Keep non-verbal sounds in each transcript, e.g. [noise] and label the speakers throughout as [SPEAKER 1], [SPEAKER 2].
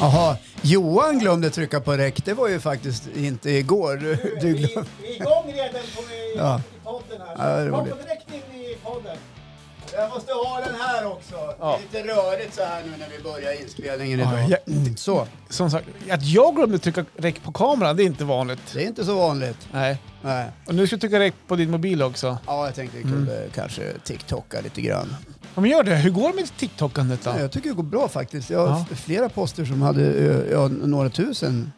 [SPEAKER 1] Jaha, Johan glömde trycka på räck. Det var ju faktiskt inte igår. Du- Du
[SPEAKER 2] vi,
[SPEAKER 1] [laughs] glömde.
[SPEAKER 2] vi är igång redan på, i,
[SPEAKER 1] Ja.
[SPEAKER 2] i podden
[SPEAKER 1] Ja, det är
[SPEAKER 2] här.
[SPEAKER 1] roligt.
[SPEAKER 2] Kom på direkt in i podden.
[SPEAKER 1] Jag måste ha den här också.
[SPEAKER 2] Ja.
[SPEAKER 1] Det är lite rörigt så här nu när vi börjar inspelningen
[SPEAKER 3] Ja,
[SPEAKER 1] idag.
[SPEAKER 3] ja.
[SPEAKER 1] Så,
[SPEAKER 3] Som sagt, att jag glömde trycka räck på kameran, det är inte vanligt.
[SPEAKER 1] det är inte så vanligt.
[SPEAKER 3] Nej.
[SPEAKER 1] Nej.
[SPEAKER 3] Och nu ska du trycka räck på din mobil också.
[SPEAKER 1] Ja, jag tänkte vi kunde kanske TikToka lite grann.
[SPEAKER 3] Ja, men gör det. Hur går det med TikTokandet då?
[SPEAKER 1] Nej, jag tycker det går bra faktiskt. Jag har
[SPEAKER 3] Ja.
[SPEAKER 1] f- flera poster som hade eh, ja, några tusen.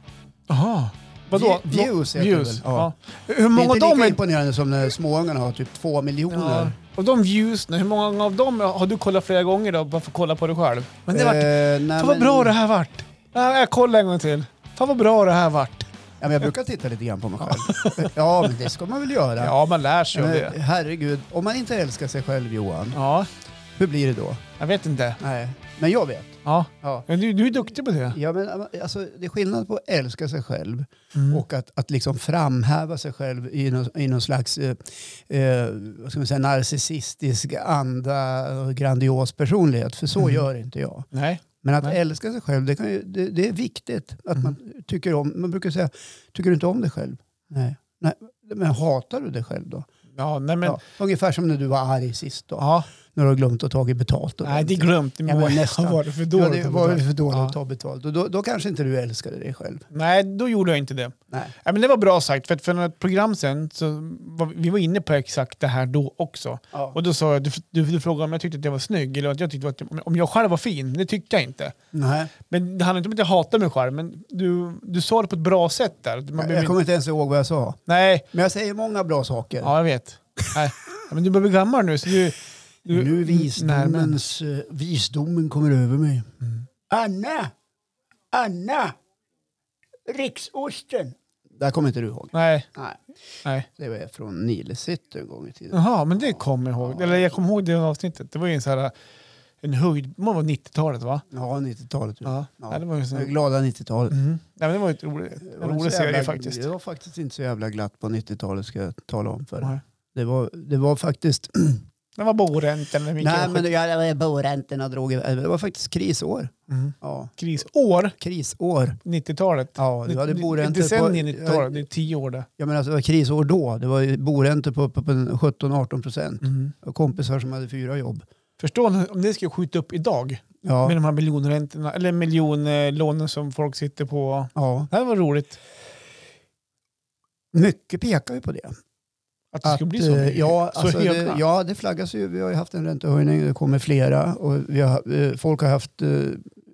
[SPEAKER 3] Jaha. Vadå?
[SPEAKER 1] View- views heter
[SPEAKER 3] views.
[SPEAKER 1] det väl?
[SPEAKER 3] Ja.
[SPEAKER 1] Ja.
[SPEAKER 3] Hur
[SPEAKER 1] Det är
[SPEAKER 3] många av
[SPEAKER 1] inte
[SPEAKER 3] dem
[SPEAKER 1] lika
[SPEAKER 3] är...
[SPEAKER 1] imponerande som när småungarna har typ två miljoner.
[SPEAKER 3] Ja. Och de views, nu, hur många av dem har du kollat flera gånger då? Bara för att kolla på dig själv. Men det vart...
[SPEAKER 1] Eh, nej,
[SPEAKER 3] Fan vad
[SPEAKER 1] men-
[SPEAKER 3] bra det här vart. Ja, jag kollar en gång till. Fan vad bra det här vart.
[SPEAKER 1] Ja, men jag brukar titta lite grann på mig själv. ja, men det ska man väl göra.
[SPEAKER 3] Ja, man lär sig av
[SPEAKER 1] Men,
[SPEAKER 3] det.
[SPEAKER 1] Herregud, om man inte älskar sig själv Johan,
[SPEAKER 3] Ja,
[SPEAKER 1] hur blir det då?
[SPEAKER 3] jag vet inte.
[SPEAKER 1] Nej, men jag vet.
[SPEAKER 3] Ja.
[SPEAKER 1] Ja.
[SPEAKER 3] Men du, du är duktig på det.
[SPEAKER 1] Ja, men, alltså, det är skillnad på att älska sig själv
[SPEAKER 3] Mm.
[SPEAKER 1] och att, att liksom framhäva sig själv i någon, i någon slags eh, eh, vad ska man säga, narcissistisk anda och grandios personlighet. För så
[SPEAKER 3] Mm.
[SPEAKER 1] gör inte jag.
[SPEAKER 3] Nej.
[SPEAKER 1] Men att
[SPEAKER 3] Nej.
[SPEAKER 1] älska sig själv, det, kan ju, det, det är viktigt. Att
[SPEAKER 3] Mm.
[SPEAKER 1] man tycker om, man brukar säga, tycker du inte om dig själv? Nej. Nej. Men hatar du dig själv då?
[SPEAKER 3] Ja, nej men...
[SPEAKER 1] ja. Ungefär som när du var arg sist då.
[SPEAKER 3] Ja.
[SPEAKER 1] När du har glömt att ta betalt. och
[SPEAKER 3] Nej, det är
[SPEAKER 1] någonting.
[SPEAKER 3] glömt. Det
[SPEAKER 1] Ja, men
[SPEAKER 3] [laughs] var,
[SPEAKER 1] nästan.
[SPEAKER 3] var det för
[SPEAKER 1] Ja,
[SPEAKER 3] dåligt.
[SPEAKER 1] det var ju för dåligt
[SPEAKER 3] Ja.
[SPEAKER 1] att ta betalt. Och då, då kanske inte du älskade dig själv.
[SPEAKER 3] Nej, då gjorde jag inte det.
[SPEAKER 1] Nej.
[SPEAKER 3] Ja, men det var bra sagt, för att för något program sen så var, vi var inne på exakt det här då också.
[SPEAKER 1] Ja.
[SPEAKER 3] Och då sa jag, du, du, du frågade om jag tyckte att jag var snygg eller att jag tyckte att, om jag själv var fin. Det tyckte jag inte.
[SPEAKER 1] Nej.
[SPEAKER 3] Men det handlar inte om att jag hatar mig själv, men du, du sa det på ett bra sätt där. Man behöver
[SPEAKER 1] Jag
[SPEAKER 3] inte-
[SPEAKER 1] kommer inte ens ihåg vad jag sa.
[SPEAKER 3] Nej,
[SPEAKER 1] Men jag säger många bra saker.
[SPEAKER 3] ja jag vet. Nej. Ja, men du börjar bli gammal nu. Så du, du,
[SPEAKER 1] Nu
[SPEAKER 3] Nej, men-
[SPEAKER 1] visdomens, eh, visdomen kommer över mig.
[SPEAKER 3] Mm.
[SPEAKER 1] Anna! Anna! Riksosten! Där kommer inte du ihåg.
[SPEAKER 3] Nej,
[SPEAKER 1] Nej,
[SPEAKER 3] nej.
[SPEAKER 1] det var från Nilesitt en gång i tiden.
[SPEAKER 3] Jaha, men det kommer jag ihåg. Eller jag kommer ihåg det avsnittet. Det var ju en sån här, en höjd, man var 90-talet va?
[SPEAKER 1] Ja, 90-talet. tror jag.
[SPEAKER 3] Mm. Ja.
[SPEAKER 1] Ja.
[SPEAKER 3] ja. det var ju sån...
[SPEAKER 1] Det Glada 90-talet.
[SPEAKER 3] Mm. Nej, men det var ju ett roligt,
[SPEAKER 1] Det var
[SPEAKER 3] en
[SPEAKER 1] inte
[SPEAKER 3] rolig
[SPEAKER 1] så
[SPEAKER 3] serie
[SPEAKER 1] jävla-
[SPEAKER 3] faktiskt.
[SPEAKER 1] Det var faktiskt inte så jävla glatt på 90-talet ska jag tala om för dig.
[SPEAKER 3] Nej.
[SPEAKER 1] Det var, det var faktiskt...
[SPEAKER 3] Den var boräntan. Den
[SPEAKER 1] Nej, men jag var boräntorna och droger. Det var faktiskt krisår.
[SPEAKER 3] mm.
[SPEAKER 1] Ja,
[SPEAKER 3] Krisår,
[SPEAKER 1] krisår.
[SPEAKER 3] 90-talet.
[SPEAKER 1] Ja, du hade
[SPEAKER 3] Det- det-
[SPEAKER 1] boräntor
[SPEAKER 3] Decennier
[SPEAKER 1] på-
[SPEAKER 3] 90-talet, det är tio år där.
[SPEAKER 1] Jag menar, alltså, det var krisår då. Det var ju boräntor på, på, på 17-18 procent.
[SPEAKER 3] Mm.
[SPEAKER 1] Och kompisar som hade fyra jobb.
[SPEAKER 3] Förstår ni om det skulle skjuta upp idag
[SPEAKER 1] Ja,
[SPEAKER 3] med de här miljonräntorna, eller miljonlånen som folk sitter på.
[SPEAKER 1] ja.
[SPEAKER 3] Det här var roligt
[SPEAKER 1] Mycket pekar ju på det.
[SPEAKER 3] att det skulle bli så.
[SPEAKER 1] eh,
[SPEAKER 3] mycket.
[SPEAKER 1] Ja,
[SPEAKER 3] så
[SPEAKER 1] alltså,
[SPEAKER 3] höga.
[SPEAKER 1] det, ja, det flaggas ju. Vi har ju haft en räntehöjning, det kommer flera. Och vi har, eh, folk har haft eh,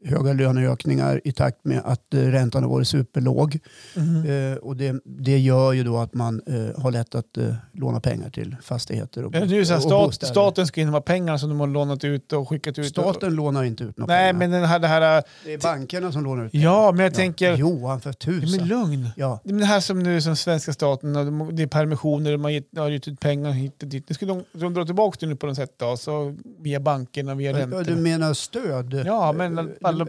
[SPEAKER 1] höga löneökningar i takt med att eh, räntan har varit superlåg.
[SPEAKER 3] Mhm.
[SPEAKER 1] Eh, och det, det gör ju då att man eh, har lätt att eh, låna pengar till fastigheter och,
[SPEAKER 3] Ja, det är ju så här,
[SPEAKER 1] och
[SPEAKER 3] stat,
[SPEAKER 1] bostäder.
[SPEAKER 3] staten ska in med pengarna som de har lånat ut och skickat ut.
[SPEAKER 1] Staten lånar inte ut några
[SPEAKER 3] Nej,
[SPEAKER 1] pengar.
[SPEAKER 3] men den här, det här...
[SPEAKER 1] det är bankerna som lånar ut pengar.
[SPEAKER 3] Ja, men jag
[SPEAKER 1] Ja.
[SPEAKER 3] tänker...
[SPEAKER 1] Johan, för
[SPEAKER 3] Ja, men
[SPEAKER 1] tusan.
[SPEAKER 3] lugn.
[SPEAKER 1] Ja.
[SPEAKER 3] Det är det här som nu som svenska staten, och de- det är permissioner, man har gett- har gett ut pengar hit och dit. Nu skulle de, de dra tillbaka det nu på något sätt då, så via bankerna, via
[SPEAKER 1] Ja, Du
[SPEAKER 3] räntorna.
[SPEAKER 1] menar stöd?
[SPEAKER 3] Ja, men alla-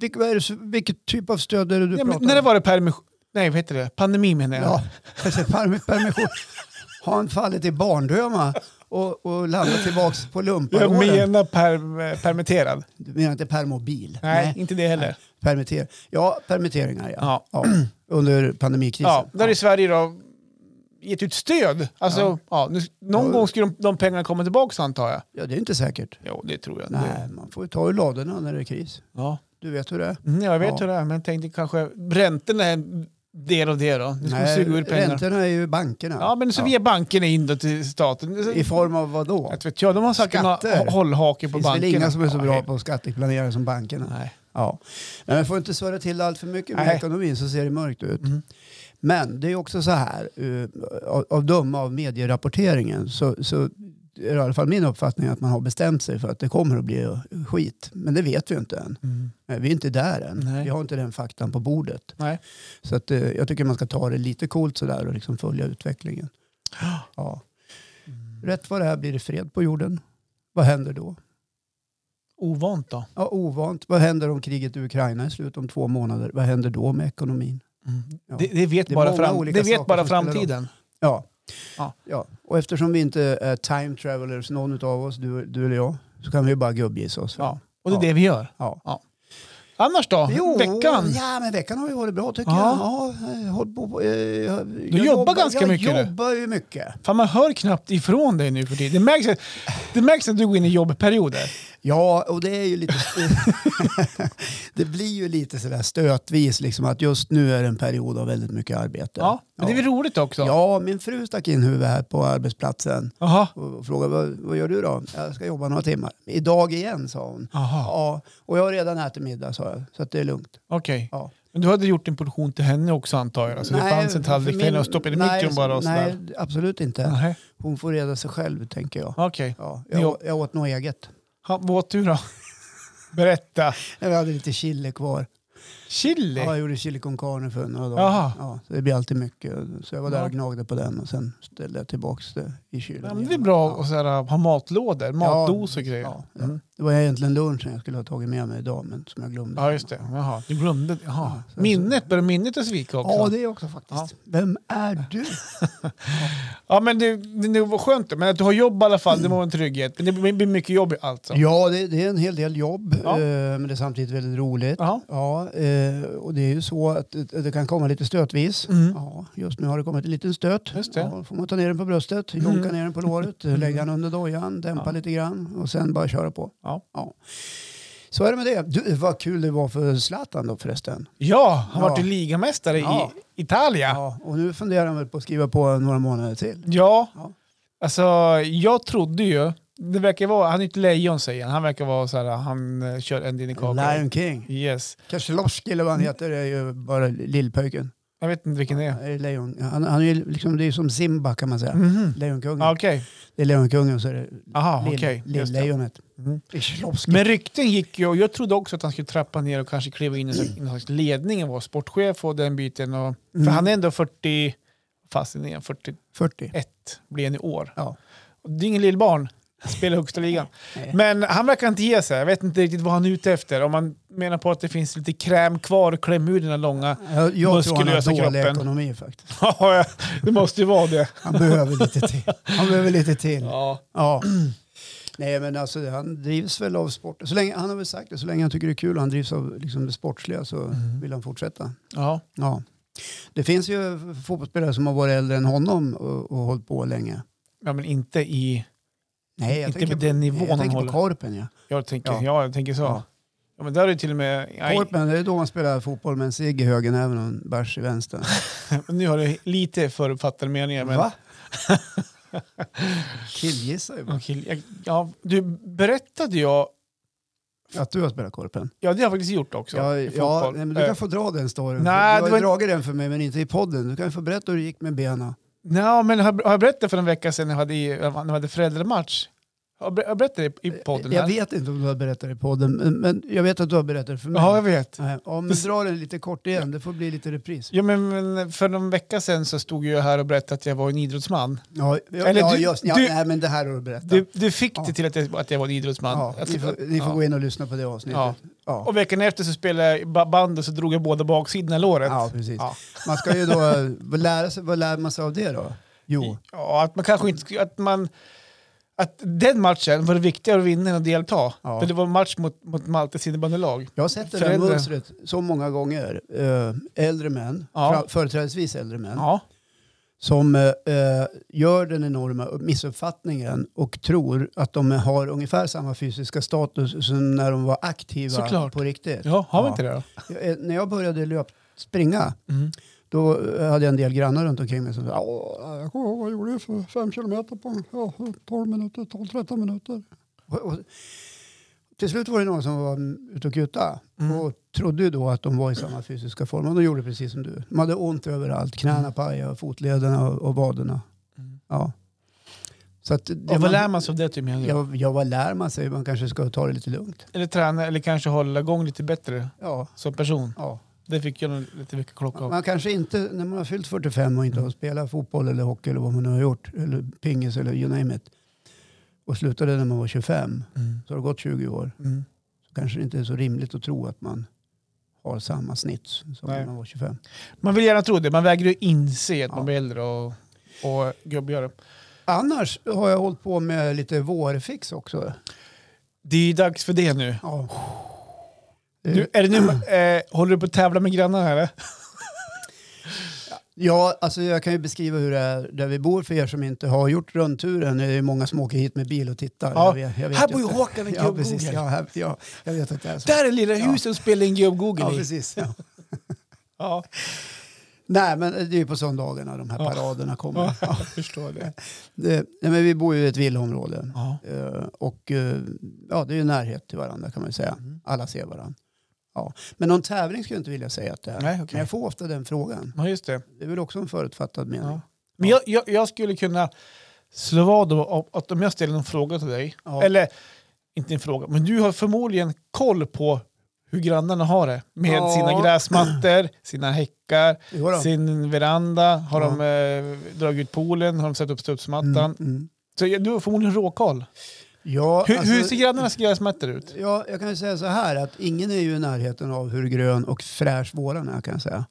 [SPEAKER 1] Vilk, vad är det, som- vilket typ av stöd är det du
[SPEAKER 3] Ja, men
[SPEAKER 1] pratar
[SPEAKER 3] när det
[SPEAKER 1] om?
[SPEAKER 3] var det permission, nej vad heter det, pandemi menar jag.
[SPEAKER 1] Ja, alltså, perm- permission. Har han fallit i barndöma och, och landat tillbaka på
[SPEAKER 3] jag
[SPEAKER 1] lumpargården?
[SPEAKER 3] menar per, permitterad.
[SPEAKER 1] Du menar inte permobil?
[SPEAKER 3] Nej, inte det heller.
[SPEAKER 1] Permitter. Ja, permitteringar ja.
[SPEAKER 3] Ja.
[SPEAKER 1] Ja, [clears throat] under pandemikrisen.
[SPEAKER 3] Ja, där i Sverige då gett ut stöd. Alltså, ja. nu, någon
[SPEAKER 1] Ja.
[SPEAKER 3] gång skulle de, de pengarna komma tillbaka antar jag.
[SPEAKER 1] Ja, det är inte säkert.
[SPEAKER 3] Jo, det tror jag.
[SPEAKER 1] Nej, man får ju ta ur ladorna när det är kris.
[SPEAKER 3] Ja.
[SPEAKER 1] Du vet hur det är.
[SPEAKER 3] Mm, jag vet
[SPEAKER 1] Ja.
[SPEAKER 3] hur det är, men jag tänkte kanske räntorna är en del av det då. Nu ska man suga ur pengar.
[SPEAKER 1] räntorna är ju bankerna.
[SPEAKER 3] Ja, men så via banken är in då till staten.
[SPEAKER 1] I form av vad då?
[SPEAKER 3] Jag vet inte, ja, de har säkert
[SPEAKER 1] Skatter.
[SPEAKER 3] några hållhake på
[SPEAKER 1] Det finns
[SPEAKER 3] banken.
[SPEAKER 1] väl inga som är så
[SPEAKER 3] Ja,
[SPEAKER 1] bra
[SPEAKER 3] hej.
[SPEAKER 1] på att skatteplanera som bankerna.
[SPEAKER 3] Nej.
[SPEAKER 1] Ja. Nej, men får inte svara till allt för mycket med
[SPEAKER 3] Nej.
[SPEAKER 1] ekonomin så ser det mörkt ut.
[SPEAKER 3] Mm.
[SPEAKER 1] Men det är också så här, eh, av- av döma av medierapporteringen så, så är det i alla fall min uppfattning att man har bestämt sig för att det kommer att bli eh, skit. Men det vet vi ju inte än.
[SPEAKER 3] Mm.
[SPEAKER 1] Nej, Vi är inte där än.
[SPEAKER 3] Nej.
[SPEAKER 1] Vi har inte den faktan på bordet.
[SPEAKER 3] Nej.
[SPEAKER 1] Så att, eh, jag tycker man ska ta det lite coolt sådär och liksom följa
[SPEAKER 3] [gasps]
[SPEAKER 1] utvecklingen. Ja. Rätt vad det här blir det fred på jorden. Vad händer då?
[SPEAKER 3] Ovant då.
[SPEAKER 1] Ja, ovant. Vad händer om kriget i Ukraina är slut om två månader? Vad händer då med ekonomin? Ja.
[SPEAKER 3] Mm. Det, det vet
[SPEAKER 1] Det är
[SPEAKER 3] bara,
[SPEAKER 1] många
[SPEAKER 3] fram,
[SPEAKER 1] olika
[SPEAKER 3] det vet
[SPEAKER 1] saker
[SPEAKER 3] bara
[SPEAKER 1] som spelar roll.
[SPEAKER 3] framtiden.
[SPEAKER 1] Ja.
[SPEAKER 3] Ja.
[SPEAKER 1] ja. Och eftersom vi inte är time travelers, någon av oss, du, du eller jag, så kan vi ju bara gubbgissa oss.
[SPEAKER 3] Ja. Och det är
[SPEAKER 1] Ja.
[SPEAKER 3] det vi gör.
[SPEAKER 1] Ja.
[SPEAKER 3] Annars då?
[SPEAKER 1] Jo,
[SPEAKER 3] Veckan?
[SPEAKER 1] Ja, men veckan har ju varit bra tycker
[SPEAKER 3] Ja.
[SPEAKER 1] jag. Ja, jag, håller på, eh, jag du
[SPEAKER 3] jobbar ganska mycket, du.
[SPEAKER 1] Jag jobbar ju mycket.
[SPEAKER 3] Fan, man hör knappt ifrån dig nu för tiden. Det märks, det märks att du går in i jobbperioder.
[SPEAKER 1] Ja, och det är ju lite... [laughs] det blir ju lite sådär stötvis liksom att just nu är det en period av väldigt mycket arbete.
[SPEAKER 3] Ja, men det är väl roligt också?
[SPEAKER 1] Ja, min fru stack in huvudet här på arbetsplatsen
[SPEAKER 3] Jaha.
[SPEAKER 1] och frågade vad, vad gör du då? Jag ska jobba några timmar. Idag igen sa hon.
[SPEAKER 3] Aha,
[SPEAKER 1] Ja, och jag har redan ätit middag sa jag, så att det är lugnt.
[SPEAKER 3] okej.
[SPEAKER 1] Ja.
[SPEAKER 3] Men du hade gjort en portion till henne också antar jag? Så Alltså, det fanns en tallrik till henne och stoppade i
[SPEAKER 1] nej,
[SPEAKER 3] mikron bara och
[SPEAKER 1] Nej,
[SPEAKER 3] sådär?
[SPEAKER 1] absolut inte.
[SPEAKER 3] Nej.
[SPEAKER 1] Hon får reda sig själv tänker jag.
[SPEAKER 3] Okej.
[SPEAKER 1] Ja,
[SPEAKER 3] Ni
[SPEAKER 1] jag,
[SPEAKER 3] åt-
[SPEAKER 1] jag åt nog eget.
[SPEAKER 3] Ha, Vad åt du då? [laughs] Berätta.
[SPEAKER 1] Jag hade lite chili kvar.
[SPEAKER 3] Chili?
[SPEAKER 1] Ja, jag gjorde chili con carne för några
[SPEAKER 3] Jaha.
[SPEAKER 1] dagar. Ja, så det blir alltid mycket. Så jag var där
[SPEAKER 3] Ja.
[SPEAKER 1] och gnagde på den och sen ställde jag tillbaka det i kylen.
[SPEAKER 3] Ja, men det är
[SPEAKER 1] igen.
[SPEAKER 3] bra
[SPEAKER 1] Ja.
[SPEAKER 3] att så här, ha matlådor, matdos och grejer.
[SPEAKER 1] Ja, ja.
[SPEAKER 3] Mm.
[SPEAKER 1] Det var egentligen lunchen jag skulle ha tagit med mig idag men som jag glömde.
[SPEAKER 3] ja just det. Jaha, du glömde. Jaha.
[SPEAKER 1] Ja, så-
[SPEAKER 3] Minnet, börjar minnet att svika också?
[SPEAKER 1] Ja, det är också faktiskt. Vem är du?
[SPEAKER 3] Ja, men det, det, det var skönt men att du har jobb i alla fall, det var en trygghet. Men det blir blir mycket jobb alltså.
[SPEAKER 1] Mm. Ja, det, det är en hel del jobb
[SPEAKER 3] Ja.
[SPEAKER 1] eh, men det är samtidigt väldigt roligt.
[SPEAKER 3] Jaha.
[SPEAKER 1] Ja, eh, och det är ju så att det, det kan komma lite stötvis.
[SPEAKER 3] Mm.
[SPEAKER 1] Ja, just nu har det kommit en liten stöt.
[SPEAKER 3] Just det. Mm.
[SPEAKER 1] Ja, då får man ta ner den på bröstet, jonka ner den på låret, lägga den under dojan, dämpa
[SPEAKER 3] Ja.
[SPEAKER 1] lite grann och sen bara köra på.
[SPEAKER 3] Ja.
[SPEAKER 1] Så är det med det. Du, vad kul det var för Zlatan då förresten.
[SPEAKER 3] Ja, han
[SPEAKER 1] Ja.
[SPEAKER 3] vart ju ligamästare
[SPEAKER 1] Ja.
[SPEAKER 3] i Italien. Ja.
[SPEAKER 1] och nu funderar han väl på att skriva på några månader till. Ja.
[SPEAKER 3] alltså jag trodde ju, det verkar vara, han är ett lejon säger han, han verkar vara så här, han eh, kör en din i kakan.
[SPEAKER 1] Lion King.
[SPEAKER 3] Yes.
[SPEAKER 1] Keselowski eller vad han
[SPEAKER 3] Mm.
[SPEAKER 1] heter är ju bara lillpöjken.
[SPEAKER 3] Jag vet inte vilken det är.
[SPEAKER 1] Är Lejon. Han, han är ju liksom, det är ju som Simba kan man säga.
[SPEAKER 3] Mhm.
[SPEAKER 1] Lejonkungen.
[SPEAKER 3] Ja, Okej,
[SPEAKER 1] Det är Lejonkungen och så är det
[SPEAKER 3] aha,
[SPEAKER 1] lill-
[SPEAKER 3] okej. Just det.
[SPEAKER 1] Lill-lejonet.
[SPEAKER 3] Mhm.
[SPEAKER 1] Keselowski.
[SPEAKER 3] Men rykten gick ju och jag trodde också att han skulle trappa ner och kanske kliva in i någon slags- någon slags ledning och vara sportchef och den biten. Och,
[SPEAKER 1] Mm.
[SPEAKER 3] För han är ändå 40, fast är han 41
[SPEAKER 1] 40.
[SPEAKER 3] blir han i år.
[SPEAKER 1] Ja.
[SPEAKER 3] Och det är ingen lillbarn, spelar i högsta ligan.
[SPEAKER 1] Nej.
[SPEAKER 3] Men han verkar inte ge sig, jag vet inte riktigt vad han är ute efter. Om man menar på att det finns lite kräm kvar och kläm ur den här långa... [laughs]
[SPEAKER 1] Jag, jag tror han har
[SPEAKER 3] Muskulösa
[SPEAKER 1] dålig
[SPEAKER 3] kroppen.
[SPEAKER 1] ekonomi faktiskt.
[SPEAKER 3] Ja, det måste ju vara det.
[SPEAKER 1] Han behöver lite till. Han behöver lite till. Ja.
[SPEAKER 3] Ja.
[SPEAKER 1] Nej men alltså han drivs väl av sport. Så länge, han har väl sagt det, så länge han tycker det är kul och han drivs av liksom, det sportsliga så
[SPEAKER 3] Mm.
[SPEAKER 1] vill han fortsätta.
[SPEAKER 3] Ja.
[SPEAKER 1] Ja. Det finns ju fotbollsspelare som har varit äldre än honom och, och hållit på länge.
[SPEAKER 3] ja, men inte i...
[SPEAKER 1] Nej, jag
[SPEAKER 3] Inte
[SPEAKER 1] tänker
[SPEAKER 3] på den nivån
[SPEAKER 1] Jag
[SPEAKER 3] han
[SPEAKER 1] tänker på
[SPEAKER 3] håller.
[SPEAKER 1] Korpen ja.
[SPEAKER 3] Jag tänker, ja.
[SPEAKER 1] Ja.
[SPEAKER 3] jag tänker så. Ja.
[SPEAKER 1] Ja.
[SPEAKER 3] men där är det till och med... nej,
[SPEAKER 1] Korpen, det är då man spelar fotboll med en cigg i högen även och en bärs i vänster.
[SPEAKER 3] nu har du lite förutfattade meningar. Men [laughs]
[SPEAKER 1] Va? Killgissar ju bara.
[SPEAKER 3] Okej, jag- Ja, du berättade jag,
[SPEAKER 1] Att du har spelat Korpen?
[SPEAKER 3] ja det har jag faktiskt gjort också.
[SPEAKER 1] Ja,
[SPEAKER 3] i
[SPEAKER 1] ja
[SPEAKER 3] fotboll.
[SPEAKER 1] nej, men du
[SPEAKER 3] Eh,
[SPEAKER 1] kan få dra den storyn.
[SPEAKER 3] nej,
[SPEAKER 1] du
[SPEAKER 3] det
[SPEAKER 1] har
[SPEAKER 3] var-
[SPEAKER 1] ju dragit den för mig men inte i podden. Du kan ju få berätta hur det gick med benen.
[SPEAKER 3] nej, men har, har jag berättat för en vecka sedan när jag hade, i- när jag hade föräldramatch? Har jag ber- har jag berättat det i podden?
[SPEAKER 1] Jag
[SPEAKER 3] här?
[SPEAKER 1] vet inte om du har berättat i podden men- men jag vet att du har berättat för mig.
[SPEAKER 3] Ja, jag vet.
[SPEAKER 1] Nej, ja, men dra den lite kort igen, det får bli lite repris.
[SPEAKER 3] Ja, men, men för någon vecka sedan så stod jag här och berättade att jag var en idrottsman.
[SPEAKER 1] Ja, ja,
[SPEAKER 3] Eller
[SPEAKER 1] ja,
[SPEAKER 3] du-
[SPEAKER 1] just, ja,
[SPEAKER 3] du-
[SPEAKER 1] nej, men det här har du berättat.
[SPEAKER 3] Du, du fick
[SPEAKER 1] Ja.
[SPEAKER 3] det till att jag, att jag var en idrottsman.
[SPEAKER 1] ja,
[SPEAKER 3] Jag
[SPEAKER 1] ni
[SPEAKER 3] tror-
[SPEAKER 1] får, ni får
[SPEAKER 3] ja.
[SPEAKER 1] gå in och lyssna på det avsnittet.
[SPEAKER 3] Ja.
[SPEAKER 1] Ja. Ja.
[SPEAKER 3] Och veckan efter så spelade jag ba- band och så drog jag båda baksidorna i låret.
[SPEAKER 1] precis.
[SPEAKER 3] Ja.
[SPEAKER 1] Man ska ju då eh, vad lära sig, vad lär man sig av det då? Jo,
[SPEAKER 3] Ja, att man kanske inte skulle- att man att den matchen var det viktigare att vinna än att delta.
[SPEAKER 1] Ja. Mm.
[SPEAKER 3] För det var en match mot, mot Maltes innebandylag.
[SPEAKER 1] jag har sett det där
[SPEAKER 3] Föräldrar.
[SPEAKER 1] mönstret så många gånger. Eh, Äldre män,
[SPEAKER 3] Ja.
[SPEAKER 1] fra- företrädesvis äldre män,
[SPEAKER 3] Ja.
[SPEAKER 1] som eh, eh, gör den enorma missuppfattningen och tror att de har ungefär samma fysiska status som när de var aktiva
[SPEAKER 3] Såklart.
[SPEAKER 1] på riktigt.
[SPEAKER 3] ja, har vi
[SPEAKER 1] Ja.
[SPEAKER 3] inte det då?
[SPEAKER 1] Jag, eh, när jag började löp, springa,
[SPEAKER 3] Mm.
[SPEAKER 1] då eh, hade jag en del grannar runt omkring mig som sa "Ja, jag kommer ihåg vad jag gjorde för fem kilometer på ja, 12 minuter, 12-13 minuter. Och, och, till slut var det någon som var mm, ute och kutade
[SPEAKER 3] Mm.
[SPEAKER 1] och trodde ju då att de var i samma fysiska form. Och de gjorde precis som du. De hade ont överallt, knäna pajade, fotlederna och, och vaderna.
[SPEAKER 3] Mm.
[SPEAKER 1] Ja. Så att det
[SPEAKER 3] Och vad
[SPEAKER 1] man-
[SPEAKER 3] lär man sig av det? Typ, menar du?
[SPEAKER 1] Ja, ja, vad lär man sig? Man kanske ska ta det lite lugnt.
[SPEAKER 3] Eller träna eller kanske hålla igång lite bättre
[SPEAKER 1] Ja,
[SPEAKER 3] som person.
[SPEAKER 1] ja.
[SPEAKER 3] Det fick jag nog lite mycket klocka av.
[SPEAKER 1] Man kanske inte, när man har fyllt 45 och inte har spelat fotboll eller hockey eller vad man nu har gjort, eller pingis eller you name it, och slutade när man var 25,
[SPEAKER 3] Mm.
[SPEAKER 1] så har det gått 20 år,
[SPEAKER 3] Mm.
[SPEAKER 1] så kanske det inte är så rimligt att tro att man har samma snitt som
[SPEAKER 3] Nej.
[SPEAKER 1] när man var 25.
[SPEAKER 3] Man vill gärna tro det, man vägrar ju inse att
[SPEAKER 1] Ja.
[SPEAKER 3] man blir äldre och, och gubbigare.
[SPEAKER 1] Annars har jag hållit på med lite vårfix också.
[SPEAKER 3] Det är ju dags för det nu.
[SPEAKER 1] Ja. Eh,
[SPEAKER 3] Du, är det nu, eh, håller du på att tävla med grannarna här? eh? eller?
[SPEAKER 1] Ja, alltså jag kan ju beskriva hur det är där vi bor för er som inte har gjort rundturen. Det är ju många som åker hit med bil och tittar.
[SPEAKER 3] Ja.
[SPEAKER 1] Jag vet- jag vet
[SPEAKER 3] Här
[SPEAKER 1] ju
[SPEAKER 3] bor ju
[SPEAKER 1] inte.
[SPEAKER 3] Håkan och
[SPEAKER 1] Ja, precis.
[SPEAKER 3] Gubb-Google.
[SPEAKER 1] Ja, här, ja, jag vet att det är så.
[SPEAKER 3] [laughs] Där är lilla huset och spelar in Gubb
[SPEAKER 1] Ja,
[SPEAKER 3] Google i. [laughs]
[SPEAKER 1] precis. Ja.
[SPEAKER 3] Ja,
[SPEAKER 1] Nej, men det är ju på söndagarna de här
[SPEAKER 3] Ja.
[SPEAKER 1] paraderna kommer.
[SPEAKER 3] ja,
[SPEAKER 1] Ja.
[SPEAKER 3] jag förstår det.
[SPEAKER 1] [laughs] Det, nej, men vi bor ju i ett villaområde.
[SPEAKER 3] Ja.
[SPEAKER 1] Eh, och eh, ja, det är ju närhet till varandra kan man ju säga.
[SPEAKER 3] Mm.
[SPEAKER 1] Alla ser varandra. Ja. Men någon tävling skulle jag inte vilja säga att det är.
[SPEAKER 3] Nej, okej.
[SPEAKER 1] Men jag får ofta den frågan.
[SPEAKER 3] ja, just det.
[SPEAKER 1] Det är väl också en förutfattad mening.
[SPEAKER 3] Ja. Men jag, jag, jag skulle kunna slå vad om- om att om jag ställer en fråga till dig,
[SPEAKER 1] Ja.
[SPEAKER 3] eller inte en fråga, men du har förmodligen koll på hur grannarna har det med
[SPEAKER 1] Ja.
[SPEAKER 3] sina gräsmattor, sina häckar,
[SPEAKER 1] Jo då.
[SPEAKER 3] sin veranda, har
[SPEAKER 1] Ja.
[SPEAKER 3] de eh, dragit ut poolen, har de satt upp studsmattan.
[SPEAKER 1] Mm, mm.
[SPEAKER 3] Så jag- du har förmodligen råkoll.
[SPEAKER 1] Ja,
[SPEAKER 3] Hur,
[SPEAKER 1] alltså-
[SPEAKER 3] hur ser grannarnas gräsmattor ut?
[SPEAKER 1] Ja, jag kan ju säga så här att ingen är ju i närheten av hur grön och fräsch våran är kan jag säga.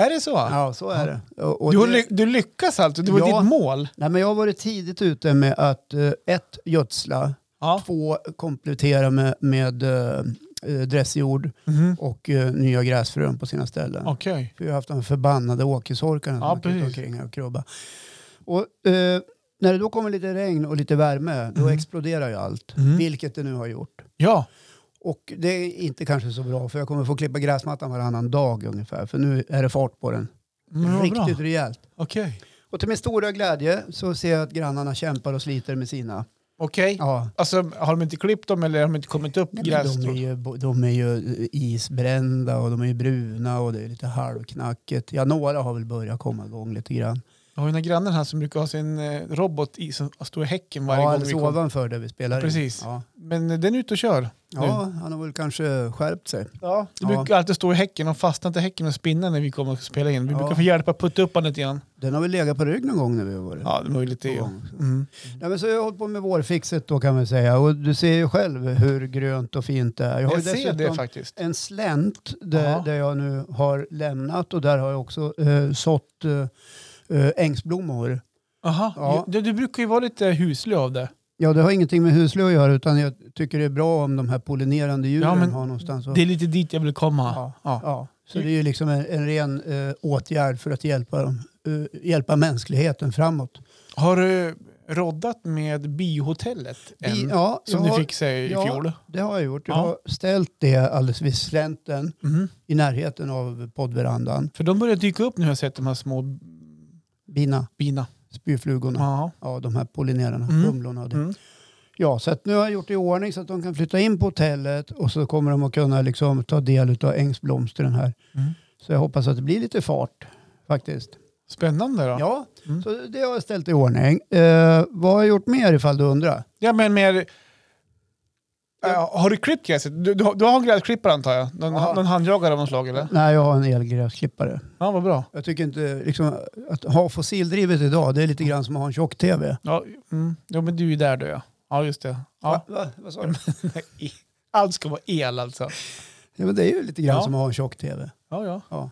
[SPEAKER 3] Är det så?
[SPEAKER 1] Ja, så är det. Och, och
[SPEAKER 3] Du, har
[SPEAKER 1] det-
[SPEAKER 3] ly- du lyckas alltså, det var
[SPEAKER 1] Ja.
[SPEAKER 3] ditt mål.
[SPEAKER 1] Nej, men jag har varit tidigt ute med att eh, ett, gödsla,
[SPEAKER 3] Ja.
[SPEAKER 1] två, komplettera med, med eh, eh, dressjord
[SPEAKER 3] Mhm.
[SPEAKER 1] och eh, nya gräsfrön på sina ställen.
[SPEAKER 3] Okej.
[SPEAKER 1] För jag har haft de förbannade åkersorkarna som
[SPEAKER 3] Ja,
[SPEAKER 1] har krypit
[SPEAKER 3] precis.
[SPEAKER 1] omkring här och krubba. Och, eh, när det då kommer lite regn och lite värme, då exploderar ju allt.
[SPEAKER 3] Mm.
[SPEAKER 1] Vilket det nu har gjort.
[SPEAKER 3] Ja.
[SPEAKER 1] Och det är inte kanske så bra för jag kommer få klippa gräsmattan varannan dag ungefär. För nu är det fart på den.
[SPEAKER 3] Men Mm, vad bra.
[SPEAKER 1] Riktigt rejält.
[SPEAKER 3] Okej.
[SPEAKER 1] Och till min stora glädje så ser jag att grannarna kämpar och sliter med sina.
[SPEAKER 3] Okej.
[SPEAKER 1] Ja.
[SPEAKER 3] Alltså, har de inte klippt dem eller har de inte kommit upp
[SPEAKER 1] De är,
[SPEAKER 3] grässtrån?
[SPEAKER 1] ju, de är ju eh, isbrända och de är ju bruna och det är lite halvknackigt. Ja, några har väl börjat komma igång lite grann.
[SPEAKER 3] Jag har ju den här grannen här som brukar ha sin eh, robot i som står i häcken varje
[SPEAKER 1] Ja,
[SPEAKER 3] gång vi
[SPEAKER 1] alldeles
[SPEAKER 3] kommer.
[SPEAKER 1] ovanför där vi spelar in.
[SPEAKER 3] Precis.
[SPEAKER 1] Ja.
[SPEAKER 3] Men eh, den är ute och kör.
[SPEAKER 1] ja, han har väl kanske skärpt sig.
[SPEAKER 3] Ja. Det
[SPEAKER 1] Ja.
[SPEAKER 3] brukar alltid stå i häcken och fastnar till häcken och spinna när vi kommer och spela in. Vi
[SPEAKER 1] Ja.
[SPEAKER 3] brukar få hjälpa att putta upp honom lite grann.
[SPEAKER 1] Den har väl legat på rygg någon gång när vi har varit
[SPEAKER 3] Ja, det var ju lite...
[SPEAKER 1] Ja.
[SPEAKER 3] Ja. Mm.
[SPEAKER 1] Nej, men så jag har hållit på med vårfixet då kan man säga. Och du ser ju själv hur grönt och fint det är. Jag har ju
[SPEAKER 3] Jag ser det
[SPEAKER 1] dessutom
[SPEAKER 3] faktiskt.
[SPEAKER 1] en slänt där,
[SPEAKER 3] Ja.
[SPEAKER 1] där jag nu har lämnat och där har jag också eh, sått eh, eh, ängsblommor.
[SPEAKER 3] Aha.
[SPEAKER 1] Ja.
[SPEAKER 3] Du, du brukar ju vara lite huslig av det.
[SPEAKER 1] Ja, det har ingenting med huslö att göra utan jag tycker det är bra om de här pollinerande djuren
[SPEAKER 3] Ja, men
[SPEAKER 1] har någonstans att...
[SPEAKER 3] Det är lite dit jag vill komma.
[SPEAKER 1] Ja.
[SPEAKER 3] Ja.
[SPEAKER 1] Ja, så det är ju liksom en, en ren eh, åtgärd för att hjälpa, dem, eh, hjälpa mänskligheten framåt.
[SPEAKER 3] Har du roddat med bihotellet än?
[SPEAKER 1] Vi- ja,
[SPEAKER 3] som
[SPEAKER 1] jag
[SPEAKER 3] du
[SPEAKER 1] har-
[SPEAKER 3] fick sig i
[SPEAKER 1] ja.
[SPEAKER 3] fjol?
[SPEAKER 1] Det har jag gjort. Jag
[SPEAKER 3] Ja.
[SPEAKER 1] har ställt det alldeles vid slänten
[SPEAKER 3] Mhm.
[SPEAKER 1] i närheten av poddverandan.
[SPEAKER 3] För de börjar dyka upp nu har jag sett de här små
[SPEAKER 1] Bina,
[SPEAKER 3] bina.
[SPEAKER 1] spyflugorna, ja.
[SPEAKER 3] Ja.
[SPEAKER 1] de här pollinerarna,
[SPEAKER 3] Mm.
[SPEAKER 1] humlorna och det.
[SPEAKER 3] Mm.
[SPEAKER 1] Ja, så att nu har jag gjort i ordning så att de kan flytta in på hotellet och så kommer de att kunna liksom ta del av ängsblomstren här.
[SPEAKER 3] Mm.
[SPEAKER 1] Så jag hoppas att det blir lite fart faktiskt.
[SPEAKER 3] Spännande då.
[SPEAKER 1] Ja,
[SPEAKER 3] Ja. Mm.
[SPEAKER 1] så det har jag ställt i ordning. Eh, vad har jag gjort mer ifall du undrar?
[SPEAKER 3] men mer... Eh, har du klippt gräset? Du, du, har- du har en gräsklippare antar jag? Någon,
[SPEAKER 1] Ja.
[SPEAKER 3] någon handjagare av något slag eller?
[SPEAKER 1] Nej, jag har en elgräsklippare.
[SPEAKER 3] Ja, vad bra.
[SPEAKER 1] Jag tycker inte liksom, att ha fossildrivet idag, det är lite grann som att ha en tjock-tv.
[SPEAKER 3] Ja, mm. ja, men du är ju där du ja. Ja, just det. Ja.
[SPEAKER 1] Va, va, vad sa du?
[SPEAKER 3] Allt ska vara el alltså.
[SPEAKER 1] Ja, men det är ju lite grann
[SPEAKER 3] Ja.
[SPEAKER 1] som att ha en tjock-tv.
[SPEAKER 3] Ja, ja.
[SPEAKER 1] Ja.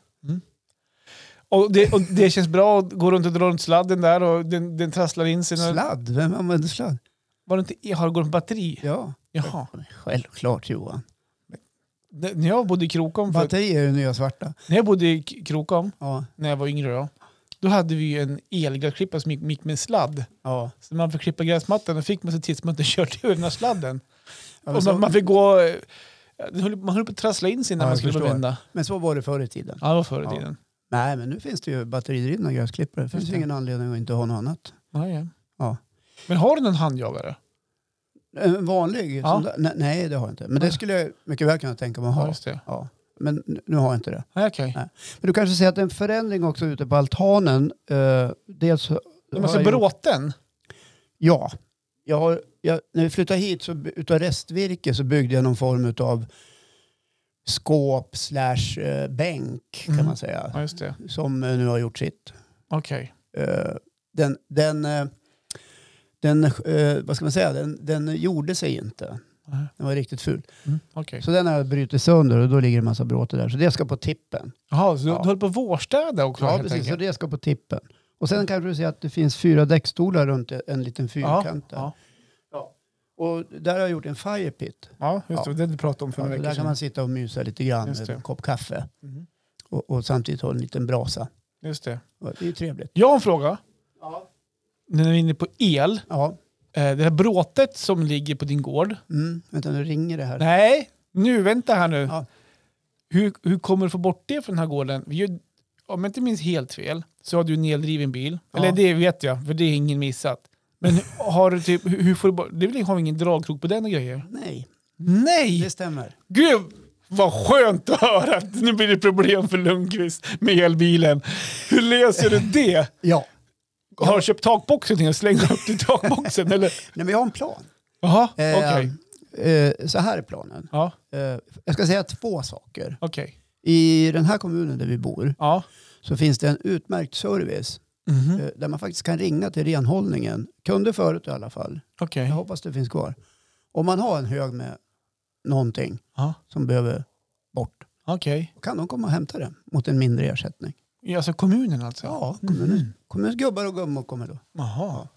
[SPEAKER 3] Och det, och det känns bra att gå runt och dra runt sladden där och den, den trasslar in sig. när-
[SPEAKER 1] Sladd? Vem använder sladd?
[SPEAKER 3] Var det inte, el- har det gått med batteri?
[SPEAKER 1] Ja.
[SPEAKER 3] Jaha.
[SPEAKER 1] Självklart Johan.
[SPEAKER 3] Det- När jag bodde i Krokom, för,
[SPEAKER 1] Batteri är det nya svarta.
[SPEAKER 3] när jag bodde i K- Krokom,
[SPEAKER 1] Ja.
[SPEAKER 3] när jag var yngre då, då hade vi ju en elgräsklippare som gick, gick med en sladd.
[SPEAKER 1] ja.
[SPEAKER 3] Så man fick klippa gräsmattan och fick man så tids man inte kört över den [laughs] här sladden.
[SPEAKER 1] men
[SPEAKER 3] och
[SPEAKER 1] så-
[SPEAKER 3] man, man fick gå... eh, den höll- Man höll på att trassla in sig när
[SPEAKER 1] Ja,
[SPEAKER 3] man
[SPEAKER 1] jag
[SPEAKER 3] skulle
[SPEAKER 1] förstår.
[SPEAKER 3] vända.
[SPEAKER 1] Men så var det förr i tiden.
[SPEAKER 3] Ja, det var förr i
[SPEAKER 1] Ja.
[SPEAKER 3] tiden.
[SPEAKER 1] Nej, men nu finns det ju batteridrivna gräsklippare. Det finns
[SPEAKER 3] Just
[SPEAKER 1] ju
[SPEAKER 3] det.
[SPEAKER 1] ingen anledning att inte ha något annat.
[SPEAKER 3] Ja, ja.
[SPEAKER 1] Ja.
[SPEAKER 3] Men har du någon handjagare?
[SPEAKER 1] En vanlig?
[SPEAKER 3] Ja.
[SPEAKER 1] Som, nej, nej, det har jag inte. Men det
[SPEAKER 3] Nej.
[SPEAKER 1] skulle jag mycket väl kunna tänka mig att
[SPEAKER 3] Ja,
[SPEAKER 1] ha.
[SPEAKER 3] just det.
[SPEAKER 1] Ja. Men n- nu har jag inte det.
[SPEAKER 3] Nej, Okej.
[SPEAKER 1] Nej. Men du kanske ser att det är en förändring också ute på altanen. Eh, dels har
[SPEAKER 3] De alltså
[SPEAKER 1] jag gjort-
[SPEAKER 3] bråten?
[SPEAKER 1] Ja. Jag har, jag, när vi flyttade hit så by- utav restvirke så byggde jag någon form av skåp slash eh, bänk kan
[SPEAKER 3] Mm.
[SPEAKER 1] man säga.
[SPEAKER 3] Ja, just det.
[SPEAKER 1] Som eh, nu har gjort sitt.
[SPEAKER 3] Okej.
[SPEAKER 1] Eh, den, den, eh, den, eh, vad ska man säga, den, den gjorde sig inte.
[SPEAKER 3] Nej.
[SPEAKER 1] Den var riktigt ful.
[SPEAKER 3] Mm. Okej.
[SPEAKER 1] Så den har jag brutit sönder och då ligger det en massa bråte där. Så det ska på tippen.
[SPEAKER 3] Jaha, så du,
[SPEAKER 1] Ja.
[SPEAKER 3] du höll på att vårstäda också?
[SPEAKER 1] Ja,
[SPEAKER 3] helt
[SPEAKER 1] precis. Så
[SPEAKER 3] enkelt.
[SPEAKER 1] det ska på tippen. Och sen kanske du ser att det finns fyra däckstolar runt en liten fyrkant där.
[SPEAKER 3] Ja.
[SPEAKER 1] Ja. Och där har jag gjort en fire pit.
[SPEAKER 3] Ja, just det. Det du pratade om för
[SPEAKER 1] Ja,
[SPEAKER 3] några veckor
[SPEAKER 1] där kan
[SPEAKER 3] sedan.
[SPEAKER 1] man sitta och mysa lite grann
[SPEAKER 3] Just
[SPEAKER 1] med
[SPEAKER 3] det.
[SPEAKER 1] en kopp kaffe
[SPEAKER 3] Mhm.
[SPEAKER 1] och, och samtidigt ha en liten brasa.
[SPEAKER 3] Just det.
[SPEAKER 1] Och Det är ju trevligt.
[SPEAKER 3] Jag har en fråga.
[SPEAKER 2] Ja.
[SPEAKER 3] När vi är inne på el.
[SPEAKER 1] Ja,
[SPEAKER 3] Eh, Det här bråtet som ligger på din gård.
[SPEAKER 1] mm. vänta nu ringer det här.
[SPEAKER 3] Nej, nu, vänta här nu.
[SPEAKER 1] Ja.
[SPEAKER 3] Hur, hur kommer du få bort det från den här gården? Vi gör, om jag inte minns helt fel så har du en eldriven bil.
[SPEAKER 1] Ja.
[SPEAKER 3] Eller det vet jag, för det är ingen missat. [laughs] Men hur- har du typ, hur hur får du bort, det vill, har vi ingen dragkrok på den och grejer?
[SPEAKER 1] Nej,
[SPEAKER 3] Nej!
[SPEAKER 1] det stämmer.
[SPEAKER 3] Gud vad skönt att höra att nu blir det problem för Lundqvist med elbilen. Hur löser du det?
[SPEAKER 1] Ja,
[SPEAKER 3] Har du köpt takboxen och slängt upp till takboxen
[SPEAKER 1] [laughs]
[SPEAKER 3] eller?
[SPEAKER 1] Nej, men jag har en plan.
[SPEAKER 3] Jaha,
[SPEAKER 1] Eh,
[SPEAKER 3] okej.
[SPEAKER 1] eh, så här är planen.
[SPEAKER 3] Ja,
[SPEAKER 1] Eh, jag ska säga två saker.
[SPEAKER 3] okej.
[SPEAKER 1] I den här kommunen där vi bor
[SPEAKER 3] Ja.
[SPEAKER 1] så finns det en utmärkt service
[SPEAKER 3] Mhm.
[SPEAKER 1] eh, där man faktiskt kan ringa till renhållningen. Kunde förut i alla fall.
[SPEAKER 3] Okej.
[SPEAKER 1] Jag hoppas det finns kvar. Om man har en hög med någonting
[SPEAKER 3] Ja.
[SPEAKER 1] som behöver bort
[SPEAKER 3] Okej.
[SPEAKER 1] då kan de komma och hämta det mot en mindre ersättning.
[SPEAKER 3] Ja, Alltså kommunen alltså?
[SPEAKER 1] Ja, kommunen, kommunens gubbar och gummor kommer då.
[SPEAKER 3] Jaha.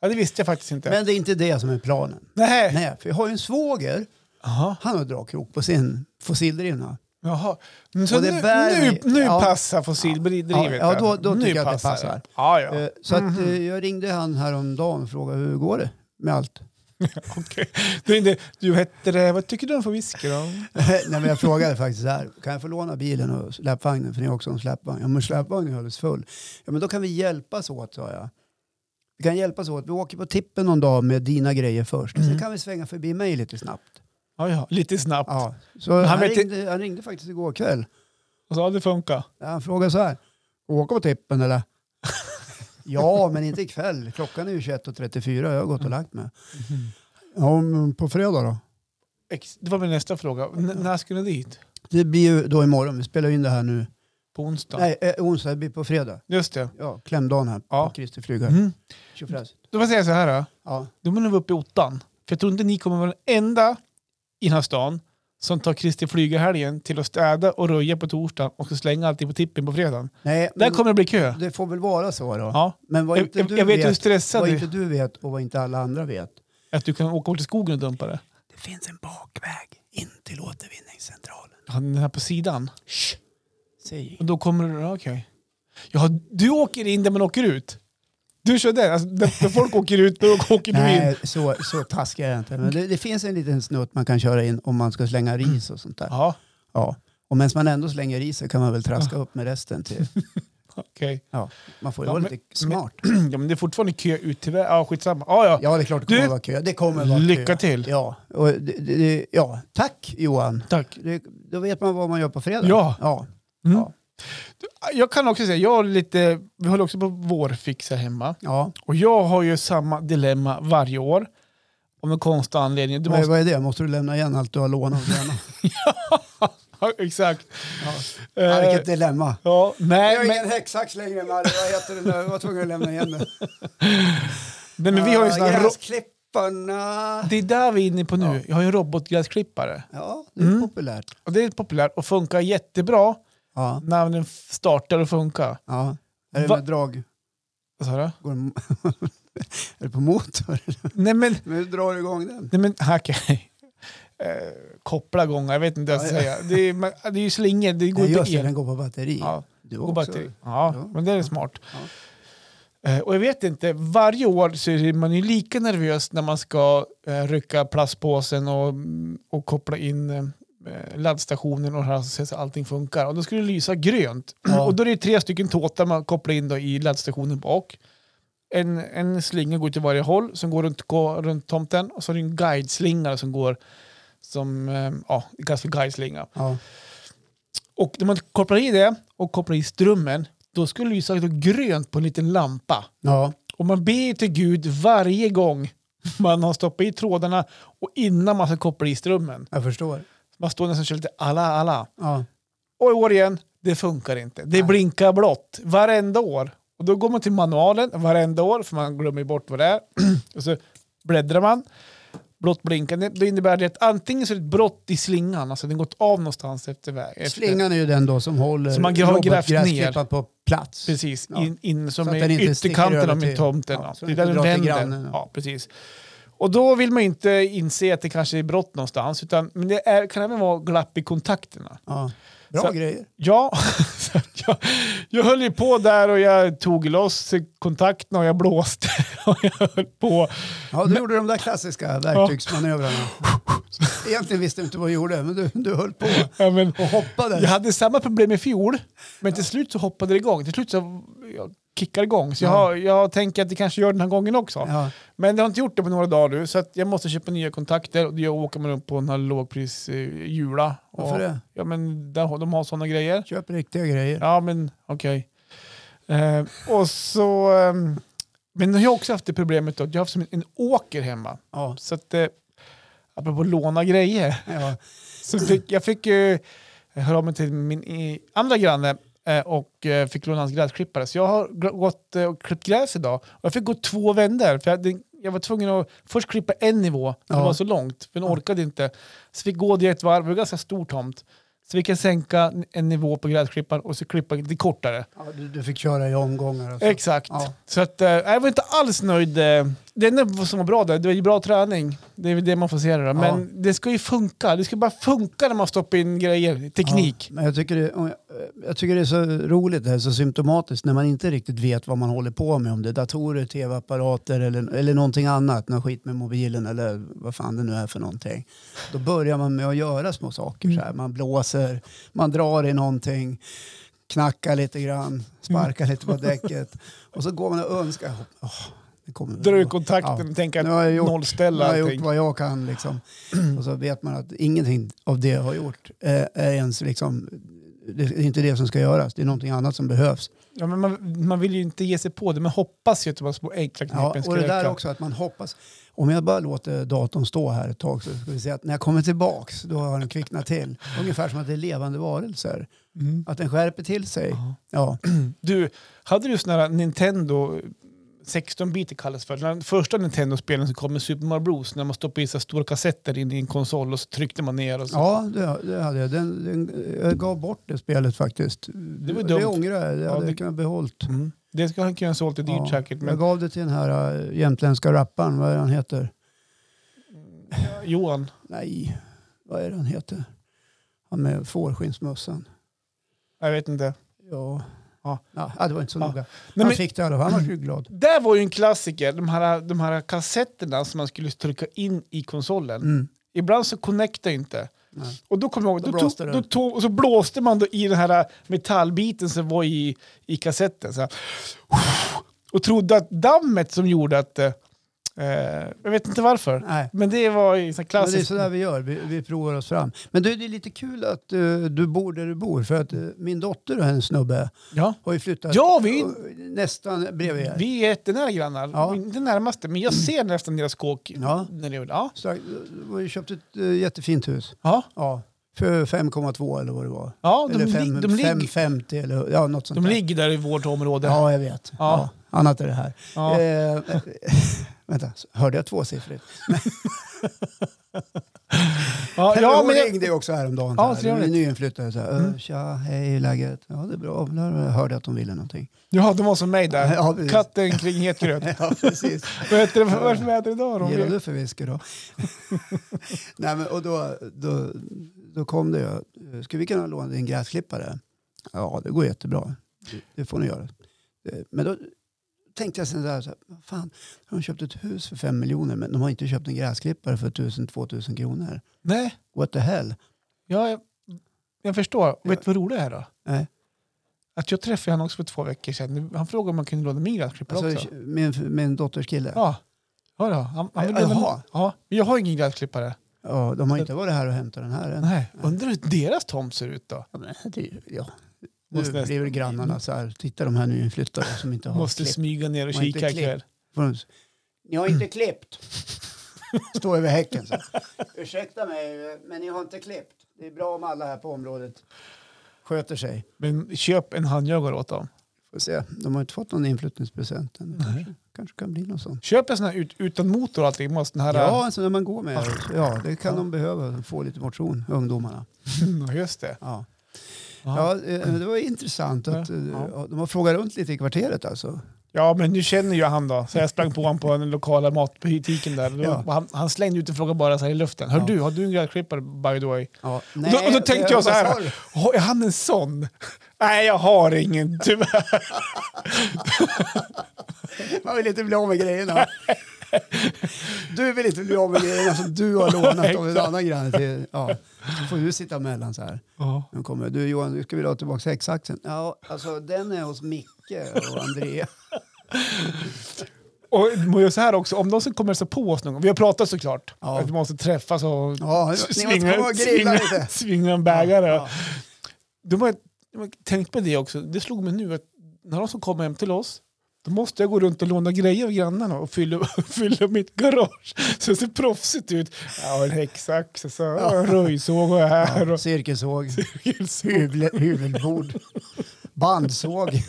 [SPEAKER 3] Ja, det visste jag faktiskt inte.
[SPEAKER 1] Men det är inte det som är planen.
[SPEAKER 3] Nej.
[SPEAKER 1] Nej, för jag har ju en svåger.
[SPEAKER 3] Jaha.
[SPEAKER 1] Han har dragkrok på sin fossildrivna.
[SPEAKER 3] Jaha. Men Så
[SPEAKER 1] Och det
[SPEAKER 3] nu,
[SPEAKER 1] bär
[SPEAKER 3] nu,
[SPEAKER 1] mig.
[SPEAKER 3] nu
[SPEAKER 1] Ja.
[SPEAKER 3] passar fossildrivet?
[SPEAKER 1] Ja, ja, då- då
[SPEAKER 3] nu
[SPEAKER 1] tycker jag att det passar.
[SPEAKER 3] Ja, ja.
[SPEAKER 1] Eh, Så att, eh, jag ringde han häromdagen och frågade hur går det med allt. [laughs]
[SPEAKER 3] Okej. Det är inte- Du hette det, vad tycker du om för
[SPEAKER 1] [laughs]
[SPEAKER 3] whisky då?
[SPEAKER 1] Nej, men jag frågade faktiskt så här, kan jag få låna bilen och släpvagnen för ni har också en släpvagn? Ja men släpvagnen hölls full. Ja men då kan vi hjälpas åt sa jag. Vi kan hjälpas åt, vi åker på tippen någon dag med dina grejer först. Sen kan vi svänga förbi mig lite snabbt.
[SPEAKER 3] Ja, ja. Lite snabbt.
[SPEAKER 1] Ja. Så
[SPEAKER 3] Men
[SPEAKER 1] han,
[SPEAKER 3] han vet i-
[SPEAKER 1] ringde, han ringde faktiskt igår kväll.
[SPEAKER 3] Och så, ja, det funkar.
[SPEAKER 1] Han frågade så här, åka på tippen [laughs] eller? ja men inte ikväll, klockan är ju 21.34 jag har gått och lagt mig. Ja men på fredag då?
[SPEAKER 3] Ex- Det var min nästa fråga. N- när ska ni dit?
[SPEAKER 1] Det blir ju då imorgon, vi spelar in det här nu.
[SPEAKER 3] På onsdag?
[SPEAKER 1] Nej, eh, onsdag, det blir på fredag.
[SPEAKER 3] Just det.
[SPEAKER 1] Ja, klämdagen här
[SPEAKER 3] Ja.
[SPEAKER 1] på Kristi flygare.
[SPEAKER 3] Mm.
[SPEAKER 1] Tjofräs.
[SPEAKER 3] Då får jag säga så här. Då.
[SPEAKER 1] Ja.
[SPEAKER 3] då måste ni vara uppe i ottan. För jag tror inte ni kommer vara den enda i den här stan som tar Kristi flygarhelgen till att städa och röja på torsdagen och ska slänga allting på tippen på fredagen.
[SPEAKER 1] Nej,
[SPEAKER 3] Där
[SPEAKER 1] men
[SPEAKER 3] kommer det bli kö.
[SPEAKER 1] det får väl vara så då.
[SPEAKER 3] Ja.
[SPEAKER 1] Men vad
[SPEAKER 3] Jag,
[SPEAKER 1] inte
[SPEAKER 3] jag,
[SPEAKER 1] du
[SPEAKER 3] jag vet hur
[SPEAKER 1] vet,
[SPEAKER 3] stressad
[SPEAKER 1] vad
[SPEAKER 3] du
[SPEAKER 1] inte
[SPEAKER 3] är.
[SPEAKER 1] du vet och vad inte alla andra vet.
[SPEAKER 3] Att du kan åka bort till skogen och dumpa det.
[SPEAKER 1] Det finns en bakväg in till återvinningscentralen.
[SPEAKER 3] Ja, Den här på sidan.
[SPEAKER 1] Säg.
[SPEAKER 3] Och då kommer du... ja, Okej. Ja, du åker in där man åker ut. Du kör den. Alltså, där där folk [laughs] åker ut, då åker du in.
[SPEAKER 1] Nej, så, så taskig är jag inte. Men det, det finns en liten snutt man kan köra in om man ska slänga
[SPEAKER 3] Mm.
[SPEAKER 1] ris och sånt där.
[SPEAKER 3] Ja,
[SPEAKER 1] Ja. Och medan man ändå slänger i sig kan man väl traska upp med resten
[SPEAKER 3] [laughs]
[SPEAKER 1] till...
[SPEAKER 3] okej. [clears throat]
[SPEAKER 1] Ja. Man får ju
[SPEAKER 3] Ja,
[SPEAKER 1] vara
[SPEAKER 3] men-
[SPEAKER 1] lite smart.
[SPEAKER 3] Ja, men det är fortfarande kö ut till... vä- Ja, skitsamma. Ja, ja.
[SPEAKER 1] Ja, det är klart det kommer
[SPEAKER 3] Du,
[SPEAKER 1] att vara kö. Det kommer att vara
[SPEAKER 3] lycka
[SPEAKER 1] kö.
[SPEAKER 3] till.
[SPEAKER 1] Ja. Och det, det, det, ja, tack Johan.
[SPEAKER 3] Tack.
[SPEAKER 1] Det, då vet man vad man gör på fredag.
[SPEAKER 3] Ja.
[SPEAKER 1] ja.
[SPEAKER 3] Mm.
[SPEAKER 1] Ja.
[SPEAKER 3] Jag kan också säga, jag har lite, vi håller också på vårfix här hemma.
[SPEAKER 1] ja.
[SPEAKER 3] Och jag har ju samma dilemma varje år. Om en konstig anledning. Du
[SPEAKER 1] Vad, är-
[SPEAKER 3] måste,
[SPEAKER 1] vad är det? Måste du lämna igen allt du har lånat? och
[SPEAKER 3] [laughs]
[SPEAKER 1] tränat?
[SPEAKER 3] ja, exakt.
[SPEAKER 1] Ja.
[SPEAKER 3] Eh,
[SPEAKER 1] Ja, vilket dilemma.
[SPEAKER 3] ja, nej, men,
[SPEAKER 1] ingen häcksax längre, Marie. Vad heter den där? Jag var tvungen att lämna igen den.
[SPEAKER 3] nej, [laughs] men vi har ju såna här ro-
[SPEAKER 1] Gräsklipparna.
[SPEAKER 3] Det är där vi är inne på nu. Jag har ju en robotgräsklippare.
[SPEAKER 1] Ja, det är
[SPEAKER 3] Mm.
[SPEAKER 1] populärt.
[SPEAKER 3] Och det är populärt och funkar jättebra
[SPEAKER 1] Ja.
[SPEAKER 3] när den f- startar och funkar.
[SPEAKER 1] ja. Är det
[SPEAKER 3] Va-
[SPEAKER 1] med drag?
[SPEAKER 3] Vad sa [laughs] du?
[SPEAKER 1] Går det... [laughs] är det på motor?
[SPEAKER 3] Nej men,
[SPEAKER 1] Men hur drar du igång den?
[SPEAKER 3] nej, men [laughs] okej. Eh, koppla igång, jag vet inte vad jag ska
[SPEAKER 1] Ja,
[SPEAKER 3] säga. Det är, men, det är ju slingor, det går
[SPEAKER 1] Nej,
[SPEAKER 3] ju på
[SPEAKER 1] just det,
[SPEAKER 3] el.
[SPEAKER 1] den går på batteri.
[SPEAKER 3] Ja.
[SPEAKER 1] Du
[SPEAKER 3] Och
[SPEAKER 1] också.
[SPEAKER 3] bara till, ja,
[SPEAKER 1] Ja.
[SPEAKER 3] men det är smart.
[SPEAKER 1] Ja.
[SPEAKER 3] Eh, Och jag vet inte, varje år så är man ju lika nervös när man ska eh, rycka plastpåsen och, mm, och koppla in eh, laddstationen och så här, så att allting funkar. Och då skulle det lysa grönt.
[SPEAKER 1] Ja.
[SPEAKER 3] [clears throat] Och då är det ju tre stycken tåtar man kopplar in då i laddstationen bak. En, en slinga går till varje håll som går runt, går runt tomten och så är det en guideslinga som går som, eh, ja, det kallas för guideslinga.
[SPEAKER 1] Ja.
[SPEAKER 3] Och när man kopplar i det och kopplar i strömmen, då skulle det lysa då grönt på en liten lampa.
[SPEAKER 1] ja.
[SPEAKER 3] Och man ber till Gud varje gång [laughs] man har stoppat i trådarna och innan man ska koppla i strömmen.
[SPEAKER 1] Jag förstår.
[SPEAKER 3] Man står nästan och kör lite alla, alla.
[SPEAKER 1] Ja.
[SPEAKER 3] Och i år igen, det funkar inte. Det
[SPEAKER 1] Nej.
[SPEAKER 3] blinkar blått varenda år. Och då går man till manualen varenda år, för man glömmer ju bort vad det är. [clears throat] och så bläddrar man. Blått blinkande, då innebär det att antingen så är det ett brott i slingan, alltså den gått av någonstans efter vägen.
[SPEAKER 1] Slingan är ju den då som håller
[SPEAKER 3] Som man har grävt ner.
[SPEAKER 1] robotgräsklippan på plats.
[SPEAKER 3] Precis,
[SPEAKER 1] Ja.
[SPEAKER 3] in, in som
[SPEAKER 1] Så att
[SPEAKER 3] är
[SPEAKER 1] den inte sticker
[SPEAKER 3] ytterkanten
[SPEAKER 1] över
[SPEAKER 3] av min
[SPEAKER 1] till-
[SPEAKER 3] tomten.
[SPEAKER 1] ja,
[SPEAKER 3] Ja,
[SPEAKER 1] så
[SPEAKER 3] det är
[SPEAKER 1] den
[SPEAKER 3] där
[SPEAKER 1] inte
[SPEAKER 3] den
[SPEAKER 1] drar till
[SPEAKER 3] vänder.
[SPEAKER 1] grannen, ja.
[SPEAKER 3] Ja, precis. Och då vill man ju inte inse att det kanske är brott någonstans, utan, men det är, kan även vara glapp i kontakterna.
[SPEAKER 1] Ja. Bra
[SPEAKER 3] Så-
[SPEAKER 1] grejer.
[SPEAKER 3] Ja, [laughs] så att jag, jag höll ju på där och jag tog loss kontakterna och jag blåste [laughs] och jag höll på.
[SPEAKER 1] Ja, du gjorde de där klassiska verktygsmanövrarna. Egentligen visste du inte vad du gjorde, men du, du höll på
[SPEAKER 3] Ja, men,
[SPEAKER 1] och hoppade.
[SPEAKER 3] jag hade samma problem i fjol, men till slut så hoppade det igång. Till slut så jag kickade igång, så jag,
[SPEAKER 1] Ja.
[SPEAKER 3] har- jag tänker att det kanske gör den här gången också.
[SPEAKER 1] Ja.
[SPEAKER 3] Men det har inte gjort det på några dagar nu, så att jag måste köpa nya kontakter och då åker man upp på den här lågprisjula.
[SPEAKER 1] Varför det?
[SPEAKER 3] Ja, men där, har- de har sådana grejer.
[SPEAKER 1] Köp riktiga grejer.
[SPEAKER 3] Ja, men okej. Eh, och så... ehm, men jag har också haft det problemet då, att jag har haft som en, en åker hemma.
[SPEAKER 1] Ja.
[SPEAKER 3] Så att, eh, apropå låna grejer,
[SPEAKER 1] [laughs] Ja.
[SPEAKER 3] så fick, jag fick ju höra av mig till min i, andra granne eh, och eh, fick låna hans gräsklippare. Så jag har gr- gått eh, och klippt gräs idag och jag fick gå två vändor. För jag, hade, jag var tvungen att först klippa en nivå, för det
[SPEAKER 1] Ja.
[SPEAKER 3] var så långt, för den orkade inte. Så fick gå det ett varv, det var en ganska stor tomt. Så vi kan sänka en nivå på gräsklipparen och så klippa det kortare.
[SPEAKER 1] Ja, du, du fick köra i omgångar. Och så.
[SPEAKER 3] Exakt.
[SPEAKER 1] Alltså. Ja.
[SPEAKER 3] Så att, eh, jag var inte alls nöjd. eh. Det enda som var bra där, det var ju bra träning. Det är väl det man får se det då. Men
[SPEAKER 1] Ja.
[SPEAKER 3] det ska ju funka. Det ska bara funka när man stoppar in grejer. Teknik.
[SPEAKER 1] Ja, men jag, tycker det, om jag- jag tycker det är så roligt, det här, så symptomatiskt när man inte riktigt vet vad man håller på med. Om det är datorer, tv-apparater eller, eller någonting annat. Någon skit med mobilen eller vad fan det nu är för någonting. Då börjar man med att göra små saker. Så här. Man blåser, man drar i någonting, knackar lite grann, sparkar lite på däcket. Och så går man och önskar. Åh, det kommer väl
[SPEAKER 3] Dra ur
[SPEAKER 1] gå."
[SPEAKER 3] kontakten,
[SPEAKER 1] Ja.
[SPEAKER 3] tänka
[SPEAKER 1] Nu har jag gjort-
[SPEAKER 3] nollställa
[SPEAKER 1] Jag har gjort
[SPEAKER 3] allting.
[SPEAKER 1] vad jag kan liksom. Och så vet man att ingenting av det jag har gjort eh, är ens liksom, det är inte det som ska göras. Det är någonting annat som behövs.
[SPEAKER 3] Ja, men man, man vill ju inte ge sig på det, men hoppas ju att de här små enkla
[SPEAKER 1] Ja,
[SPEAKER 3] knepen ska
[SPEAKER 1] och det där
[SPEAKER 3] räcka.
[SPEAKER 1] också att man hoppas. Om jag bara låter datorn stå här ett tag så ska vi se att när jag kommer tillbaks då har den kvicknat till. Ungefär som att det är levande varelser.
[SPEAKER 3] Mm.
[SPEAKER 1] Att den skärper till sig. Ja,
[SPEAKER 3] Du, hade du sådana här Nintendo 16-bit kallas för. Den första Nintendo-spelen som kom med Super Mario Bros. När man stoppade i så här stora kassetter in i en konsol och så tryckte man ner. Och så.
[SPEAKER 1] ja det, det hade jag. Den, den, jag gav bort det spelet faktiskt.
[SPEAKER 3] Det var
[SPEAKER 1] Det
[SPEAKER 3] dumt.
[SPEAKER 1] ångrar jag. Det hade
[SPEAKER 3] det-
[SPEAKER 1] jag kunnat behållt.
[SPEAKER 3] Mm. Det ska han kunna sålt i dyrt
[SPEAKER 1] Ja,
[SPEAKER 3] säkert.
[SPEAKER 1] Jag
[SPEAKER 3] Men
[SPEAKER 1] gav det till den här äh, jämtländska rapparen, vad är det han heter?
[SPEAKER 3] Johan,
[SPEAKER 1] Nej, vad är det han heter? Han med fårskinnsmössan.
[SPEAKER 3] jag vet inte.
[SPEAKER 1] Ja.
[SPEAKER 3] Ja.
[SPEAKER 1] Ja. ja, äh, det var inte så
[SPEAKER 3] Ja.
[SPEAKER 1] noga.
[SPEAKER 3] Nej,
[SPEAKER 1] han
[SPEAKER 3] men-
[SPEAKER 1] fick det i alla fall, han var ju glad.
[SPEAKER 3] Där var ju en klassiker, de här, de här kassetterna som man skulle trycka in i konsolen.
[SPEAKER 1] Mm.
[SPEAKER 3] Ibland så connectade inte.
[SPEAKER 1] Nej.
[SPEAKER 3] Och då kom jag ihåg,
[SPEAKER 1] Då
[SPEAKER 3] då,
[SPEAKER 1] blåste
[SPEAKER 3] tog,
[SPEAKER 1] det.
[SPEAKER 3] då tog, och så blåste man då i den här äh, metallbiten som var i, i kassetten. Så här. Och trodde att dammet som gjorde att... Eh, jag vet inte varför.
[SPEAKER 1] Nej.
[SPEAKER 3] Men det var ju
[SPEAKER 1] Men
[SPEAKER 3] så här
[SPEAKER 1] det är
[SPEAKER 3] klassiskt.
[SPEAKER 1] sådär vi gör, vi, vi provar oss fram. Men du, det är lite kul att eh, du bor där du bor för att eh, min dotter och hennes snubbe
[SPEAKER 3] ja.
[SPEAKER 1] har ju flyttat
[SPEAKER 3] Ja, vi-
[SPEAKER 1] nästan bredvid er.
[SPEAKER 3] Vi är jättenära grannar.
[SPEAKER 1] Ja.
[SPEAKER 3] Inte närmaste, men jag ser nästan deras kåk.
[SPEAKER 1] Ja.
[SPEAKER 3] När det, ja.
[SPEAKER 1] Så, eh, vi köpte ett eh, jättefint hus.
[SPEAKER 3] Ja.
[SPEAKER 1] Ja, för 5,2 eller vad det var.
[SPEAKER 3] Ja, de
[SPEAKER 1] eller
[SPEAKER 3] lig-
[SPEAKER 1] fem-
[SPEAKER 3] de ligger-
[SPEAKER 1] 5,50 eller ja, något sånt
[SPEAKER 3] De
[SPEAKER 1] där.
[SPEAKER 3] ligger där i vårt område.
[SPEAKER 1] Ja, jag vet.
[SPEAKER 3] Ja.
[SPEAKER 1] Ja. annat är det här.
[SPEAKER 3] Ja.
[SPEAKER 1] Eh, [laughs] vänta, hörde jag tvåsiffrigt?
[SPEAKER 3] Ja,
[SPEAKER 1] Ja,
[SPEAKER 3] ja,
[SPEAKER 1] Hon
[SPEAKER 3] men jag-
[SPEAKER 1] ringde ju också häromdagen.
[SPEAKER 3] Ja,
[SPEAKER 1] så här.
[SPEAKER 3] trevligt. Mm.
[SPEAKER 1] Nyinflyttade. Så här, "Eh, Tja, hej, hur är läget? Ja, det är bra. Bla, bla, bla. Jag hörde att de ville någonting.
[SPEAKER 3] Ja, de var som mig
[SPEAKER 1] [laughs]
[SPEAKER 3] där.
[SPEAKER 1] Ja, precis.
[SPEAKER 3] Katten kring het
[SPEAKER 1] [laughs]
[SPEAKER 3] gröt.
[SPEAKER 1] Ja, precis.
[SPEAKER 3] Vad heter det för vad är det för väder idag då?
[SPEAKER 1] Vad gillar du för whisky då? [laughs] Nej, men, och då, då, då kom det ju. Skulle vi kunna låna din gräsklippare? Ja, det går jättebra. Det- Det får ni göra. Eh, Men då tänkte jag sen där, så här, vad fan, de har köpt ett hus för fem miljoner men de har inte köpt en gräsklippare för 1000-2000 kronor.
[SPEAKER 3] Nej,
[SPEAKER 1] What the hell?
[SPEAKER 3] ja, jag, jag förstår. Vet du vad roligt det är då?
[SPEAKER 1] Nej.
[SPEAKER 3] Att jag träffade han också för två veckor sedan. Han frågade om man kunde låna min gräsklippare
[SPEAKER 1] Alltså,
[SPEAKER 3] också.
[SPEAKER 1] min, min dotters kille. Ja.
[SPEAKER 3] Ja. Ja, då. Han, han vill
[SPEAKER 1] Jaha.
[SPEAKER 3] låna- ja, men jag har ingen gräsklippare.
[SPEAKER 1] de har inte varit här och hämtat den här än.
[SPEAKER 3] Nej. Undrar hur deras tomt ser ut då?
[SPEAKER 1] Ja, men det, är ju- ja. Nu
[SPEAKER 3] Måste nästan-
[SPEAKER 1] blir väl grannarna så här, titta de här nyinflyttade som inte har
[SPEAKER 3] Måste
[SPEAKER 1] klipp.
[SPEAKER 3] smyga ner
[SPEAKER 1] Man
[SPEAKER 3] och
[SPEAKER 1] har inte
[SPEAKER 3] kika
[SPEAKER 1] klipp.
[SPEAKER 3] ikväll.
[SPEAKER 1] Får de- Ni har inte [laughs] klippt. Står över häcken så. här. Ursäkta mig, men ni har inte klippt. Det är bra om alla här på området sköter sig.
[SPEAKER 3] Men köp en handjagare åt dem.
[SPEAKER 1] Får se. De har inte fått någon inflyttningspresent än. Kanske, kanske kan bli något sånt.
[SPEAKER 3] Köp en sån här ut, utan motor och allting. Måste den här... [laughs] Ah.
[SPEAKER 1] Ja, alltså när man går med. Ja, det kan de behöva. Få lite motion, ungdomarna.
[SPEAKER 3] Just det.
[SPEAKER 1] Ja. Ja, eh, det var intressant att eh,
[SPEAKER 3] Ah. Ja.
[SPEAKER 1] ja, de har frågat runt lite i kvarteret alltså.
[SPEAKER 3] Ja, men nu känner ju han då. Så jag sprang på honom på den lokala matbutiken där. Då-
[SPEAKER 1] Ja.
[SPEAKER 3] Han, han slängde ut en fråga bara så här i luften. Hör
[SPEAKER 1] Ja.
[SPEAKER 3] du, har du en gräsklippare by the way?
[SPEAKER 1] Ja,
[SPEAKER 3] och, då, och då
[SPEAKER 1] nej,
[SPEAKER 3] tänkte
[SPEAKER 1] det-
[SPEAKER 3] jag så
[SPEAKER 1] vad sa
[SPEAKER 3] här.
[SPEAKER 1] du?
[SPEAKER 3] Har är han en sån? [laughs] Nej, jag har ingen tyvärr.
[SPEAKER 1] Man vill inte bli av med grejerna. Du vill inte bli av med grejerna som du har lånat av en annan granne. Till, ja. Då får du sitta emellan så här. Nu kommer du Johan, du ska vilja ha tillbaka sexaxeln? Ja, alltså den är hos Micke och Andrea.
[SPEAKER 3] Och man gör så här också, om de som kommer så på oss någon gång. Vi har pratat såklart.
[SPEAKER 1] Ja.
[SPEAKER 3] Att vi måste träffas och
[SPEAKER 1] Ja,
[SPEAKER 3] s-
[SPEAKER 1] ni måste komma och grilla
[SPEAKER 3] svinga,
[SPEAKER 1] lite.
[SPEAKER 3] svinga en bägare.
[SPEAKER 1] Ja.
[SPEAKER 3] De har, de har tänkt på det också. Det slog mig nu att när de som kommer hem till oss då måste jag gå runt och låna grejer av grannarna och fylla, [laughs] fylla mitt garage. Så det ser proffsigt ut. Ja, en häcksax, så, en röjsåg och här.
[SPEAKER 1] Ja,
[SPEAKER 3] Och,
[SPEAKER 1] cirkelsåg,
[SPEAKER 3] Cirkelsåg.
[SPEAKER 1] Hyvle, hyvelbord, bandsåg,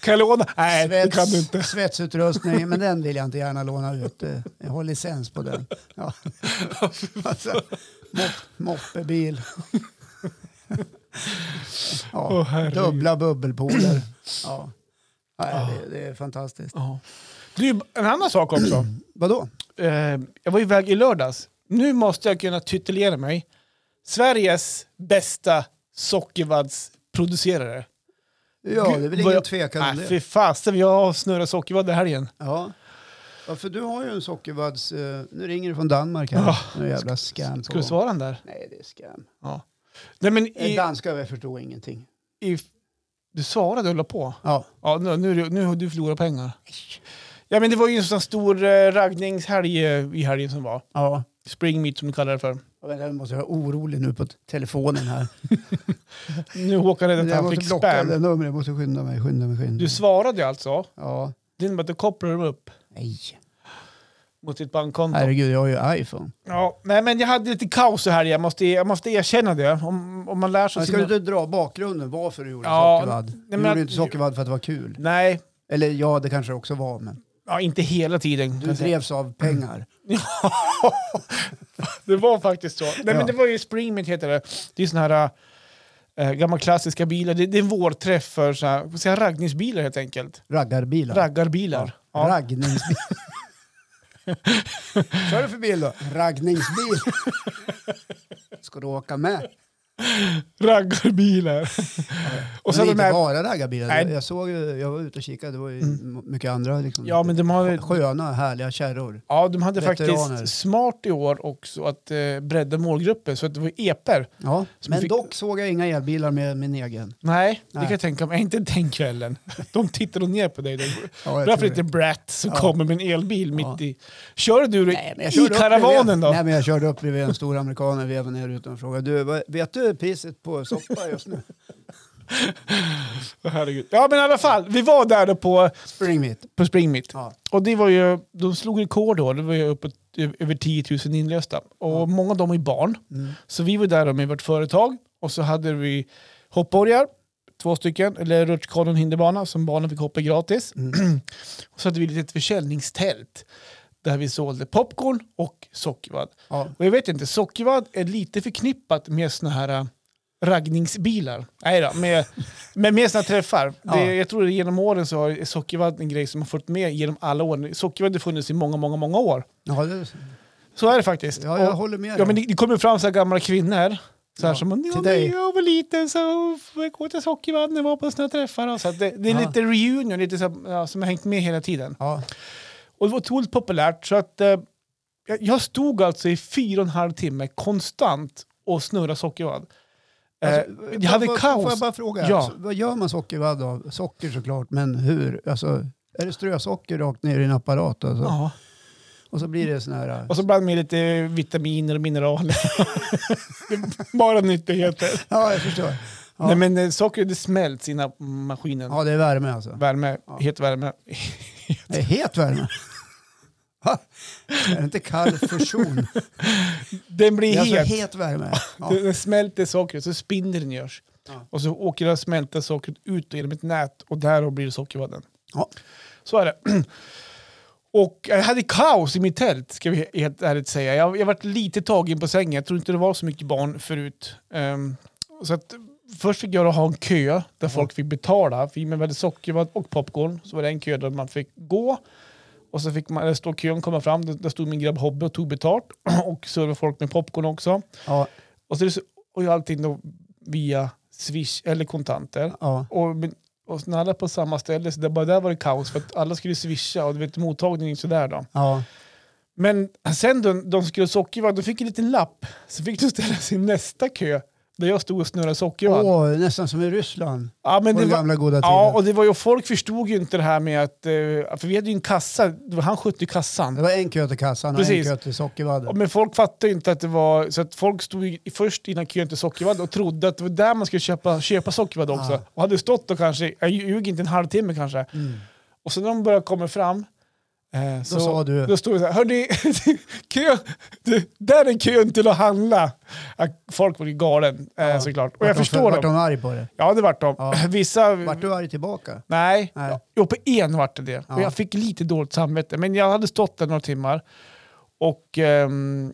[SPEAKER 3] kan jag låna? Nej, det kan du inte.
[SPEAKER 1] svets, svetsutrustning. Men den vill jag inte gärna låna ut. Eh, Jag har licens på den.
[SPEAKER 3] [laughs]
[SPEAKER 1] Ja. Alltså, mop, moppebil. Ja,
[SPEAKER 3] Åh, herregud.
[SPEAKER 1] dubbla bubbelpooler. Ja. Nej, det, det är fantastiskt.
[SPEAKER 3] Ja. Det är ju en annan
[SPEAKER 1] [clears throat]
[SPEAKER 3] sak också.
[SPEAKER 1] Vadå?
[SPEAKER 3] eh, jag var iväg i lördags. Nu måste jag kunna titulera mig Sveriges bästa sockervaddsproducerare.
[SPEAKER 1] Ja, det är väl
[SPEAKER 3] Vad
[SPEAKER 1] ingen
[SPEAKER 3] jag-
[SPEAKER 1] tvekan om
[SPEAKER 3] Nej,
[SPEAKER 1] det.
[SPEAKER 3] fy fasen, jag har snurrat sockervadd i helgen.
[SPEAKER 1] Ja. ja, för du har ju en sockervadds... eh, Nu ringer du från Danmark här.
[SPEAKER 3] Ja.
[SPEAKER 1] Nu är jävla scam
[SPEAKER 3] Ska
[SPEAKER 1] på
[SPEAKER 3] du
[SPEAKER 1] gång.
[SPEAKER 3] svara den där?
[SPEAKER 1] Nej, det är scam.
[SPEAKER 3] Ja. Nej, men
[SPEAKER 1] I...
[SPEAKER 3] i,
[SPEAKER 1] Danska, jag förstår ingenting.
[SPEAKER 3] i, du svarade och la på.
[SPEAKER 1] Ja.
[SPEAKER 3] Ja, nu, nu, nu har du förlorat pengar. Ja, men det var ju en sån stor eh, raggningshelg eh, i helgen som var.
[SPEAKER 1] ja.
[SPEAKER 3] Spring meet som du kallar det för.
[SPEAKER 1] Ja, men Jag måste vara orolig nu på t- telefonen [laughs] här.
[SPEAKER 3] Nu Håkan redan att
[SPEAKER 1] Jag
[SPEAKER 3] han
[SPEAKER 1] måste
[SPEAKER 3] fick
[SPEAKER 1] blocka
[SPEAKER 3] spam.
[SPEAKER 1] det numret, jag måste skynda mig, skynda mig, skynda mig.
[SPEAKER 3] Du svarade ju alltså.
[SPEAKER 1] Ja.
[SPEAKER 3] Det innebär att du kopplar upp
[SPEAKER 1] Nej.
[SPEAKER 3] mot ditt bankkonto.
[SPEAKER 1] Herregud, jag har ju iPhone.
[SPEAKER 3] Ja, nej men jag hade lite kaos så här. Jag måste, jag måste erkänna det. Om, om man lär sig...
[SPEAKER 1] Men ska
[SPEAKER 3] sina-
[SPEAKER 1] du inte dra bakgrunden varför du gjorde
[SPEAKER 3] Ja,
[SPEAKER 1] sockervadd? Du
[SPEAKER 3] men-
[SPEAKER 1] gjorde inte sockervadd för att det var kul.
[SPEAKER 3] Nej,
[SPEAKER 1] Eller ja, det kanske det också var, men
[SPEAKER 3] ja, inte hela tiden. kan
[SPEAKER 1] du
[SPEAKER 3] jag säga.
[SPEAKER 1] drevs av pengar.
[SPEAKER 3] Det var faktiskt så. Nej
[SPEAKER 1] Ja.
[SPEAKER 3] men det var ju Springmint heter det. Det är såna här äh, gamla klassiska bilar. Det, det är en vårträff för så här, vad säger jag, raggningsbilar helt enkelt.
[SPEAKER 1] Raggarbilar.
[SPEAKER 3] Raggarbilar. Ja.
[SPEAKER 1] [laughs] Raggningsbil. Kör du för bil då? Raggningsbil. Ska du åka med?
[SPEAKER 3] Raggarbilar. och
[SPEAKER 1] Och
[SPEAKER 3] så
[SPEAKER 1] men
[SPEAKER 3] de
[SPEAKER 1] inte
[SPEAKER 3] här,
[SPEAKER 1] bara raggarbilar.
[SPEAKER 3] Nej.
[SPEAKER 1] Jag, såg, ju- jag var ute och kikade, det var ju mycket andra liksom,
[SPEAKER 3] ja, men de har,
[SPEAKER 1] sköna, härliga kärror.
[SPEAKER 3] ja, de hade
[SPEAKER 1] Veteraner.
[SPEAKER 3] faktiskt smart i år också att eh, bredda målgruppen så att det var eper.
[SPEAKER 1] Ja,
[SPEAKER 3] Som
[SPEAKER 1] men
[SPEAKER 3] fick-
[SPEAKER 1] dock såg jag inga elbilar med min egen.
[SPEAKER 3] Nej, det
[SPEAKER 1] Nej.
[SPEAKER 3] kan jag tänka mig. Inte den kvällen. [laughs] De tittar nog ner på dig. De-
[SPEAKER 1] Ja, jag
[SPEAKER 3] Därför
[SPEAKER 1] tror
[SPEAKER 3] lite
[SPEAKER 1] det.
[SPEAKER 3] brat som
[SPEAKER 1] Ja.
[SPEAKER 3] kommer med en elbil
[SPEAKER 1] Ja.
[SPEAKER 3] mitt i. Kör du
[SPEAKER 1] Nej, men jag
[SPEAKER 3] i
[SPEAKER 1] körde upp
[SPEAKER 3] karavanen
[SPEAKER 1] bredvid-
[SPEAKER 3] då?
[SPEAKER 1] Nej, men jag körde upp bredvid en stor amerikan och vevade ner utan och frågade. Du, vad- vet du priset på soppa just nu?
[SPEAKER 3] Åh, Herregud. Ja men i alla fall, vi var där då på,
[SPEAKER 1] Spring mitt.
[SPEAKER 3] på Spring Meet.
[SPEAKER 1] Ja.
[SPEAKER 3] Och det var ju, de slog rekord då, det var ju uppåt ö- över 10 000 inlösta. Och många av dem är barn.
[SPEAKER 1] Mm.
[SPEAKER 3] Så vi var där då med vårt företag och så hade vi hoppborgar, två stycken, eller rutschkanor och hinderbana som barnen fick hoppa gratis. [clears throat] och så hade vi ett litet försäljningstält där vi sålde popcorn och sockervadd.
[SPEAKER 1] Ja.
[SPEAKER 3] Och jag vet inte, sockervadd är lite förknippat med såna här äh, raggningsbilar. Nej då, med, med, med såna träffar.
[SPEAKER 1] Ja.
[SPEAKER 3] Det, jag tror att genom åren så har sockervadd en grej som har följt med genom alla år. Sockervadd har funnits i många, många, många år.
[SPEAKER 1] Ja, det,
[SPEAKER 3] Så är det faktiskt.
[SPEAKER 1] ja, jag
[SPEAKER 3] Och-
[SPEAKER 1] håller med
[SPEAKER 3] Ja, men
[SPEAKER 1] dig.
[SPEAKER 3] det, det kommer fram så här gamla kvinnor. Så
[SPEAKER 1] Ja,
[SPEAKER 3] här som,
[SPEAKER 1] till
[SPEAKER 3] ja,
[SPEAKER 1] dig."
[SPEAKER 3] men jag var liten så gick jag till sockervadd när jag var på såna här träffar. Och så att det, det är
[SPEAKER 1] Ja.
[SPEAKER 3] lite reunion, lite så här, ja, som har hängt med hela tiden.
[SPEAKER 1] Ja.
[SPEAKER 3] Och det var otroligt populärt. Så att, eh, jag- jag stod alltså i fyra och en halv timme konstant och snurrade sockervadd.
[SPEAKER 1] Alltså,
[SPEAKER 3] eh, jag hade
[SPEAKER 1] får,
[SPEAKER 3] kaos.
[SPEAKER 1] Får jag bara fråga?
[SPEAKER 3] Ja.
[SPEAKER 1] Alltså, vad gör man sockervadd av? Socker såklart, men hur? Alltså, är det strösocker rakt ner i en apparat? Alltså?
[SPEAKER 3] ja.
[SPEAKER 1] Och så blir det sån här...
[SPEAKER 3] Och så bland med lite vitaminer
[SPEAKER 1] [laughs]
[SPEAKER 3] och mineraler. Det är Bara nyttigheter.
[SPEAKER 1] Ja, jag förstår. Ja.
[SPEAKER 3] Nej, men eh, socker det smälts innan maskinen.
[SPEAKER 1] Ja, det är värme alltså.
[SPEAKER 3] Värme,
[SPEAKER 1] Ja.
[SPEAKER 3] het värme.
[SPEAKER 1] Det är het värme.
[SPEAKER 3] [laughs]
[SPEAKER 1] Va? Är det inte kall fusion?
[SPEAKER 3] Den
[SPEAKER 1] [laughs]
[SPEAKER 3] blir
[SPEAKER 1] Det är alltså
[SPEAKER 3] het.
[SPEAKER 1] het värme. Ja.
[SPEAKER 3] Den smälter sockret, så spindeln görs.
[SPEAKER 1] Ja.
[SPEAKER 3] Och så åker det smälta sockret ut genom ett nät och där blir det sockervadden.
[SPEAKER 1] Ja.
[SPEAKER 3] Så är det. [clears throat] Och jag hade kaos i mitt tält, ska vi helt ärligt säga. Jag, jag varit lite tagen på sängen. Jag tror inte det var så mycket barn förut. Ehm, så att Först fick jag då ha en kö där folk fick betala. För i och med väldigt sockervadd och popcorn så var det en kö där man fick gå. Och så fick man, eller stå kön komma fram, där där stod min grabb Hobbe och tog betalt. [clears throat] och servade folk med popcorn också.
[SPEAKER 1] Ja,
[SPEAKER 3] Och, så är det så, och jag allting då via swish eller kontanter.
[SPEAKER 1] ja.
[SPEAKER 3] Och, men- och när alla på samma ställe, så där, bara där var det kaos för att alla skulle swisha och du vet mottagningen gick sådär då.
[SPEAKER 1] Ja,
[SPEAKER 3] Men sen då, de skulle ha sockervadd, de fick en liten lapp. Så fick de ställa sig i nästa kö där jag stod och snurrade sockervadd.
[SPEAKER 1] Åh, nästan som i Ryssland.
[SPEAKER 3] ja, men
[SPEAKER 1] på
[SPEAKER 3] det
[SPEAKER 1] den
[SPEAKER 3] var,
[SPEAKER 1] gamla goda tiden.
[SPEAKER 3] ja, och det var ju, folk förstod ju inte det här med att, eh, för vi hade ju en kassa, det var han skötte ju kassan.
[SPEAKER 1] Det var en kö till kassan och
[SPEAKER 3] Precis.
[SPEAKER 1] en kö till
[SPEAKER 3] Och-
[SPEAKER 1] sockervadden.
[SPEAKER 3] Men folk fattade ju inte att det var, så att folk stod ju först innan kön till sockervadd och trodde att det var där man skulle köpa, köpa sockervadd också.
[SPEAKER 1] Ah.
[SPEAKER 3] Och hade stått då kanske, jag ljuger inte, en halvtimme kanske.
[SPEAKER 1] Mm.
[SPEAKER 3] Och så när de började komma fram eh, så,
[SPEAKER 1] sa du-
[SPEAKER 3] då stod det så här, hörni, [laughs] kö, det, där är kön till att handla. Ja, folk var ju galen eh,
[SPEAKER 1] Ja.
[SPEAKER 3] såklart. Och
[SPEAKER 1] Vart
[SPEAKER 3] jag
[SPEAKER 1] de-
[SPEAKER 3] förstår
[SPEAKER 1] Vart
[SPEAKER 3] dem. Mm.
[SPEAKER 1] de arg på det?
[SPEAKER 3] Ja, det vart de.
[SPEAKER 1] Ja.
[SPEAKER 3] Vissa...
[SPEAKER 1] Vart du arg tillbaka?
[SPEAKER 3] Nej,
[SPEAKER 1] Nej.
[SPEAKER 3] Ja, jo på en vart det det. Och
[SPEAKER 1] Ja.
[SPEAKER 3] jag fick lite dåligt samvete. Men jag hade stått där några timmar. Och, ehm,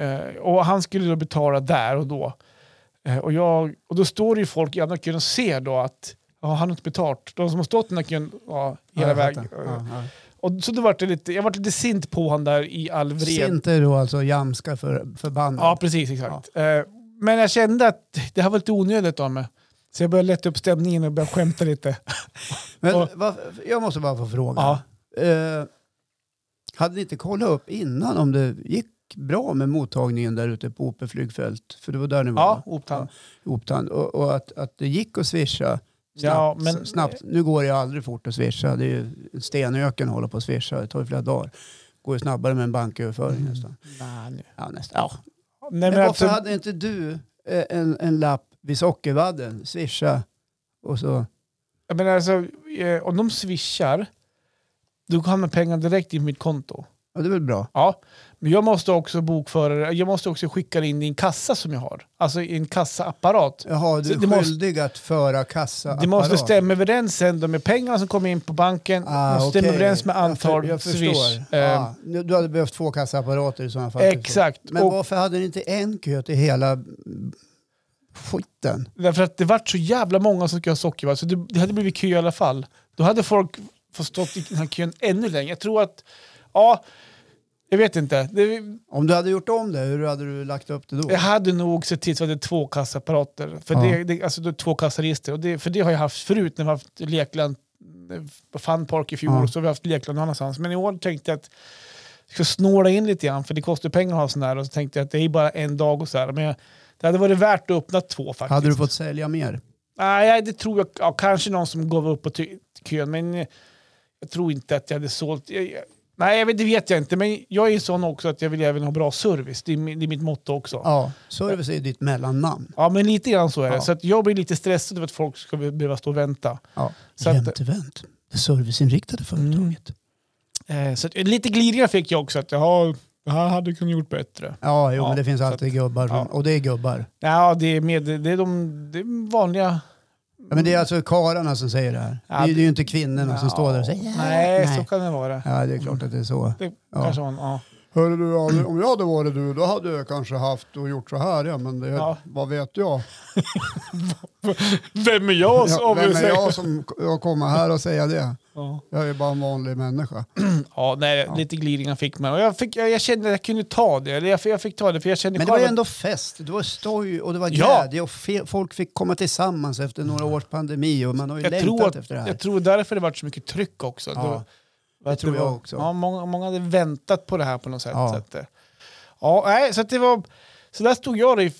[SPEAKER 3] eh, och han skulle då betala där och då. Eh, och, jag, och då står det ju folk i andra kön och ser då att ja, han har inte betalt. De som har stått i den här kön ja,
[SPEAKER 1] Ja,
[SPEAKER 3] hela eh,
[SPEAKER 1] jag
[SPEAKER 3] vägen.
[SPEAKER 1] fattar. Ja, ja.
[SPEAKER 3] Och så då vart det lite, jag vart lite sint på honom där i all vred.
[SPEAKER 1] Sint är då alltså jamska för, förbannad.
[SPEAKER 3] Ja, precis. Exakt. Eh, men jag kände att det här var lite onödigt av mig. Så jag började lätta upp stämningen och började skämta
[SPEAKER 1] Mm.
[SPEAKER 3] lite.
[SPEAKER 1] Men
[SPEAKER 3] och-
[SPEAKER 1] vad- jag måste bara få fråga.
[SPEAKER 3] Ja.
[SPEAKER 1] Eh, hade ni inte kollat upp innan om det gick bra med mottagningen där ute på Ope flygfält? För det var där ni var,
[SPEAKER 3] Ja,
[SPEAKER 1] va?
[SPEAKER 3] Optan.
[SPEAKER 1] i Optand. Och, och att, att det gick att swisha snabbt.
[SPEAKER 3] Ja, men-
[SPEAKER 1] snabbt. Nu går det ju aldrig fort att swisha. Det är ju en stenöken att hålla på och swisha. Det tar ju flera dagar. går ju snabbare med en banköverföring
[SPEAKER 3] Mm.
[SPEAKER 1] nästan.
[SPEAKER 3] Nej,
[SPEAKER 1] Ja, nästan. Ja. Men
[SPEAKER 3] Nej, men
[SPEAKER 1] varför
[SPEAKER 3] alltså,
[SPEAKER 1] hade inte du eh, en, en lapp vid sockervadden? Swisha och så...
[SPEAKER 3] jag menar alltså, eh, om de swishar, då kommer pengarna direkt i mitt konto.
[SPEAKER 1] Ja, det är väl bra.
[SPEAKER 3] Ja, men jag måste också bokföra det. Jag måste också skicka det in i en kassa som jag har. Alltså i en kassaapparat.
[SPEAKER 1] Jaha, du
[SPEAKER 3] Så
[SPEAKER 1] är
[SPEAKER 3] det måste-
[SPEAKER 1] skyldig att föra kassa.
[SPEAKER 3] Det måste stämma överens sen då med pengarna som kommer in på banken. måste stämma överens med antal
[SPEAKER 1] Ah, jag för, jag
[SPEAKER 3] swish.
[SPEAKER 1] förstår.
[SPEAKER 3] Eh,
[SPEAKER 1] Ja, nu- du hade behövt två kassaapparater i sådana fall.
[SPEAKER 3] Exakt.
[SPEAKER 1] Men
[SPEAKER 3] och
[SPEAKER 1] varför hade ni inte en kö till hela skiten?
[SPEAKER 3] Därför att det vart så jävla många som skulle ha sockervadd så det, det hade blivit kö i alla fall. Då hade folk fått stått i den här kön ännu längre. Jag tror att, ja, jag vet inte. Det,
[SPEAKER 1] Om du hade gjort om det, hur hade du lagt upp det då?
[SPEAKER 3] jag hade nog sett till så att det är två kassaapparater. För
[SPEAKER 1] Ja.
[SPEAKER 3] det, det, alltså det är två kassaregister. Och det, för det har jag haft förut när vi har haft lekland, eh, Funpark i fjol,
[SPEAKER 1] Ja.
[SPEAKER 3] och så har vi haft lekland någon annanstans. Men i år tänkte jag att jag ska snåla in lite grann, för det kostar pengar att ha sån här. Och så tänkte jag att det är bara en dag och så här. Men jag, det hade varit värt att öppna två faktiskt.
[SPEAKER 1] Hade du fått sälja mer?
[SPEAKER 3] Nej, det tror jag. Ja, kanske någon som gav upp på ty- kön, men eh, jag tror inte att jag hade sålt. Jag, jag, nej, jag vet, det vet jag inte, men jag är ju sån också att jag vill även ha bra service. Det är, min- det är mitt motto också. Ja.
[SPEAKER 1] Ja. Service är ju ditt mellannamn.
[SPEAKER 3] men lite grann så är det.
[SPEAKER 1] Ja.
[SPEAKER 3] Så att jag blir lite stressad över att folk ska be- behöva stå och vänta.
[SPEAKER 1] Ja.
[SPEAKER 3] Så att-
[SPEAKER 1] Jämte vänt. Det serviceinriktade
[SPEAKER 3] Mm.
[SPEAKER 1] företaget.
[SPEAKER 3] Eh, så att, lite glidningar fick jag också, att jaha, det här hade jag kunnat gjort bättre.
[SPEAKER 1] Ja, jo,
[SPEAKER 3] Ja,
[SPEAKER 1] men det finns
[SPEAKER 3] så
[SPEAKER 1] alltid gubbar.
[SPEAKER 3] ja.
[SPEAKER 1] Och det är gubbar.
[SPEAKER 3] Ja, det är, med, det är de det är vanliga...
[SPEAKER 1] Ja, men det är alltså karlarna som säger det här.
[SPEAKER 3] Ja,
[SPEAKER 1] det, är,
[SPEAKER 3] det-
[SPEAKER 1] det är ju inte kvinnorna som
[SPEAKER 3] Ja.
[SPEAKER 1] står där och säger "Ja,
[SPEAKER 3] Nej, så kan det vara.
[SPEAKER 1] Ja, det är klart att det är så.
[SPEAKER 3] Det
[SPEAKER 1] Ja.
[SPEAKER 3] kanske var en, ja.
[SPEAKER 1] Hörru du, om- om jag hade varit du, då hade jag kanske haft och gjort så här, ja, men det,
[SPEAKER 3] Ja.
[SPEAKER 1] vad vet jag?
[SPEAKER 3] Vem är jag? som
[SPEAKER 1] Ja, vem är
[SPEAKER 3] avgör?
[SPEAKER 1] jag som k- jag kommer här och säga det?
[SPEAKER 3] Ja.
[SPEAKER 1] Jag är ju bara en vanlig människa.
[SPEAKER 3] Ja, nej, lite glidningar fick man. Och jag, fick, jag, jag kände att jag kunde ta det. Eller jag, fick- jag fick ta det för jag kände
[SPEAKER 1] Men det
[SPEAKER 3] själv
[SPEAKER 1] var ju
[SPEAKER 3] att-
[SPEAKER 1] ändå fest, det var stoj och det var
[SPEAKER 3] Ja. Mm.
[SPEAKER 1] glädje och fe- folk fick komma tillsammans efter några års pandemi och man har ju
[SPEAKER 3] jag
[SPEAKER 1] längtat
[SPEAKER 3] tror, att,
[SPEAKER 1] efter det här.
[SPEAKER 3] jag tror därför det var så mycket tryck också.
[SPEAKER 1] Ja,
[SPEAKER 3] det, var- att
[SPEAKER 1] tror jag
[SPEAKER 3] var-
[SPEAKER 1] också.
[SPEAKER 3] Ja, många, många hade väntat på det här på något sätt.
[SPEAKER 1] Ja.
[SPEAKER 3] Så, att, eh, ja, nej, så, att det var, så där stod jag då i f-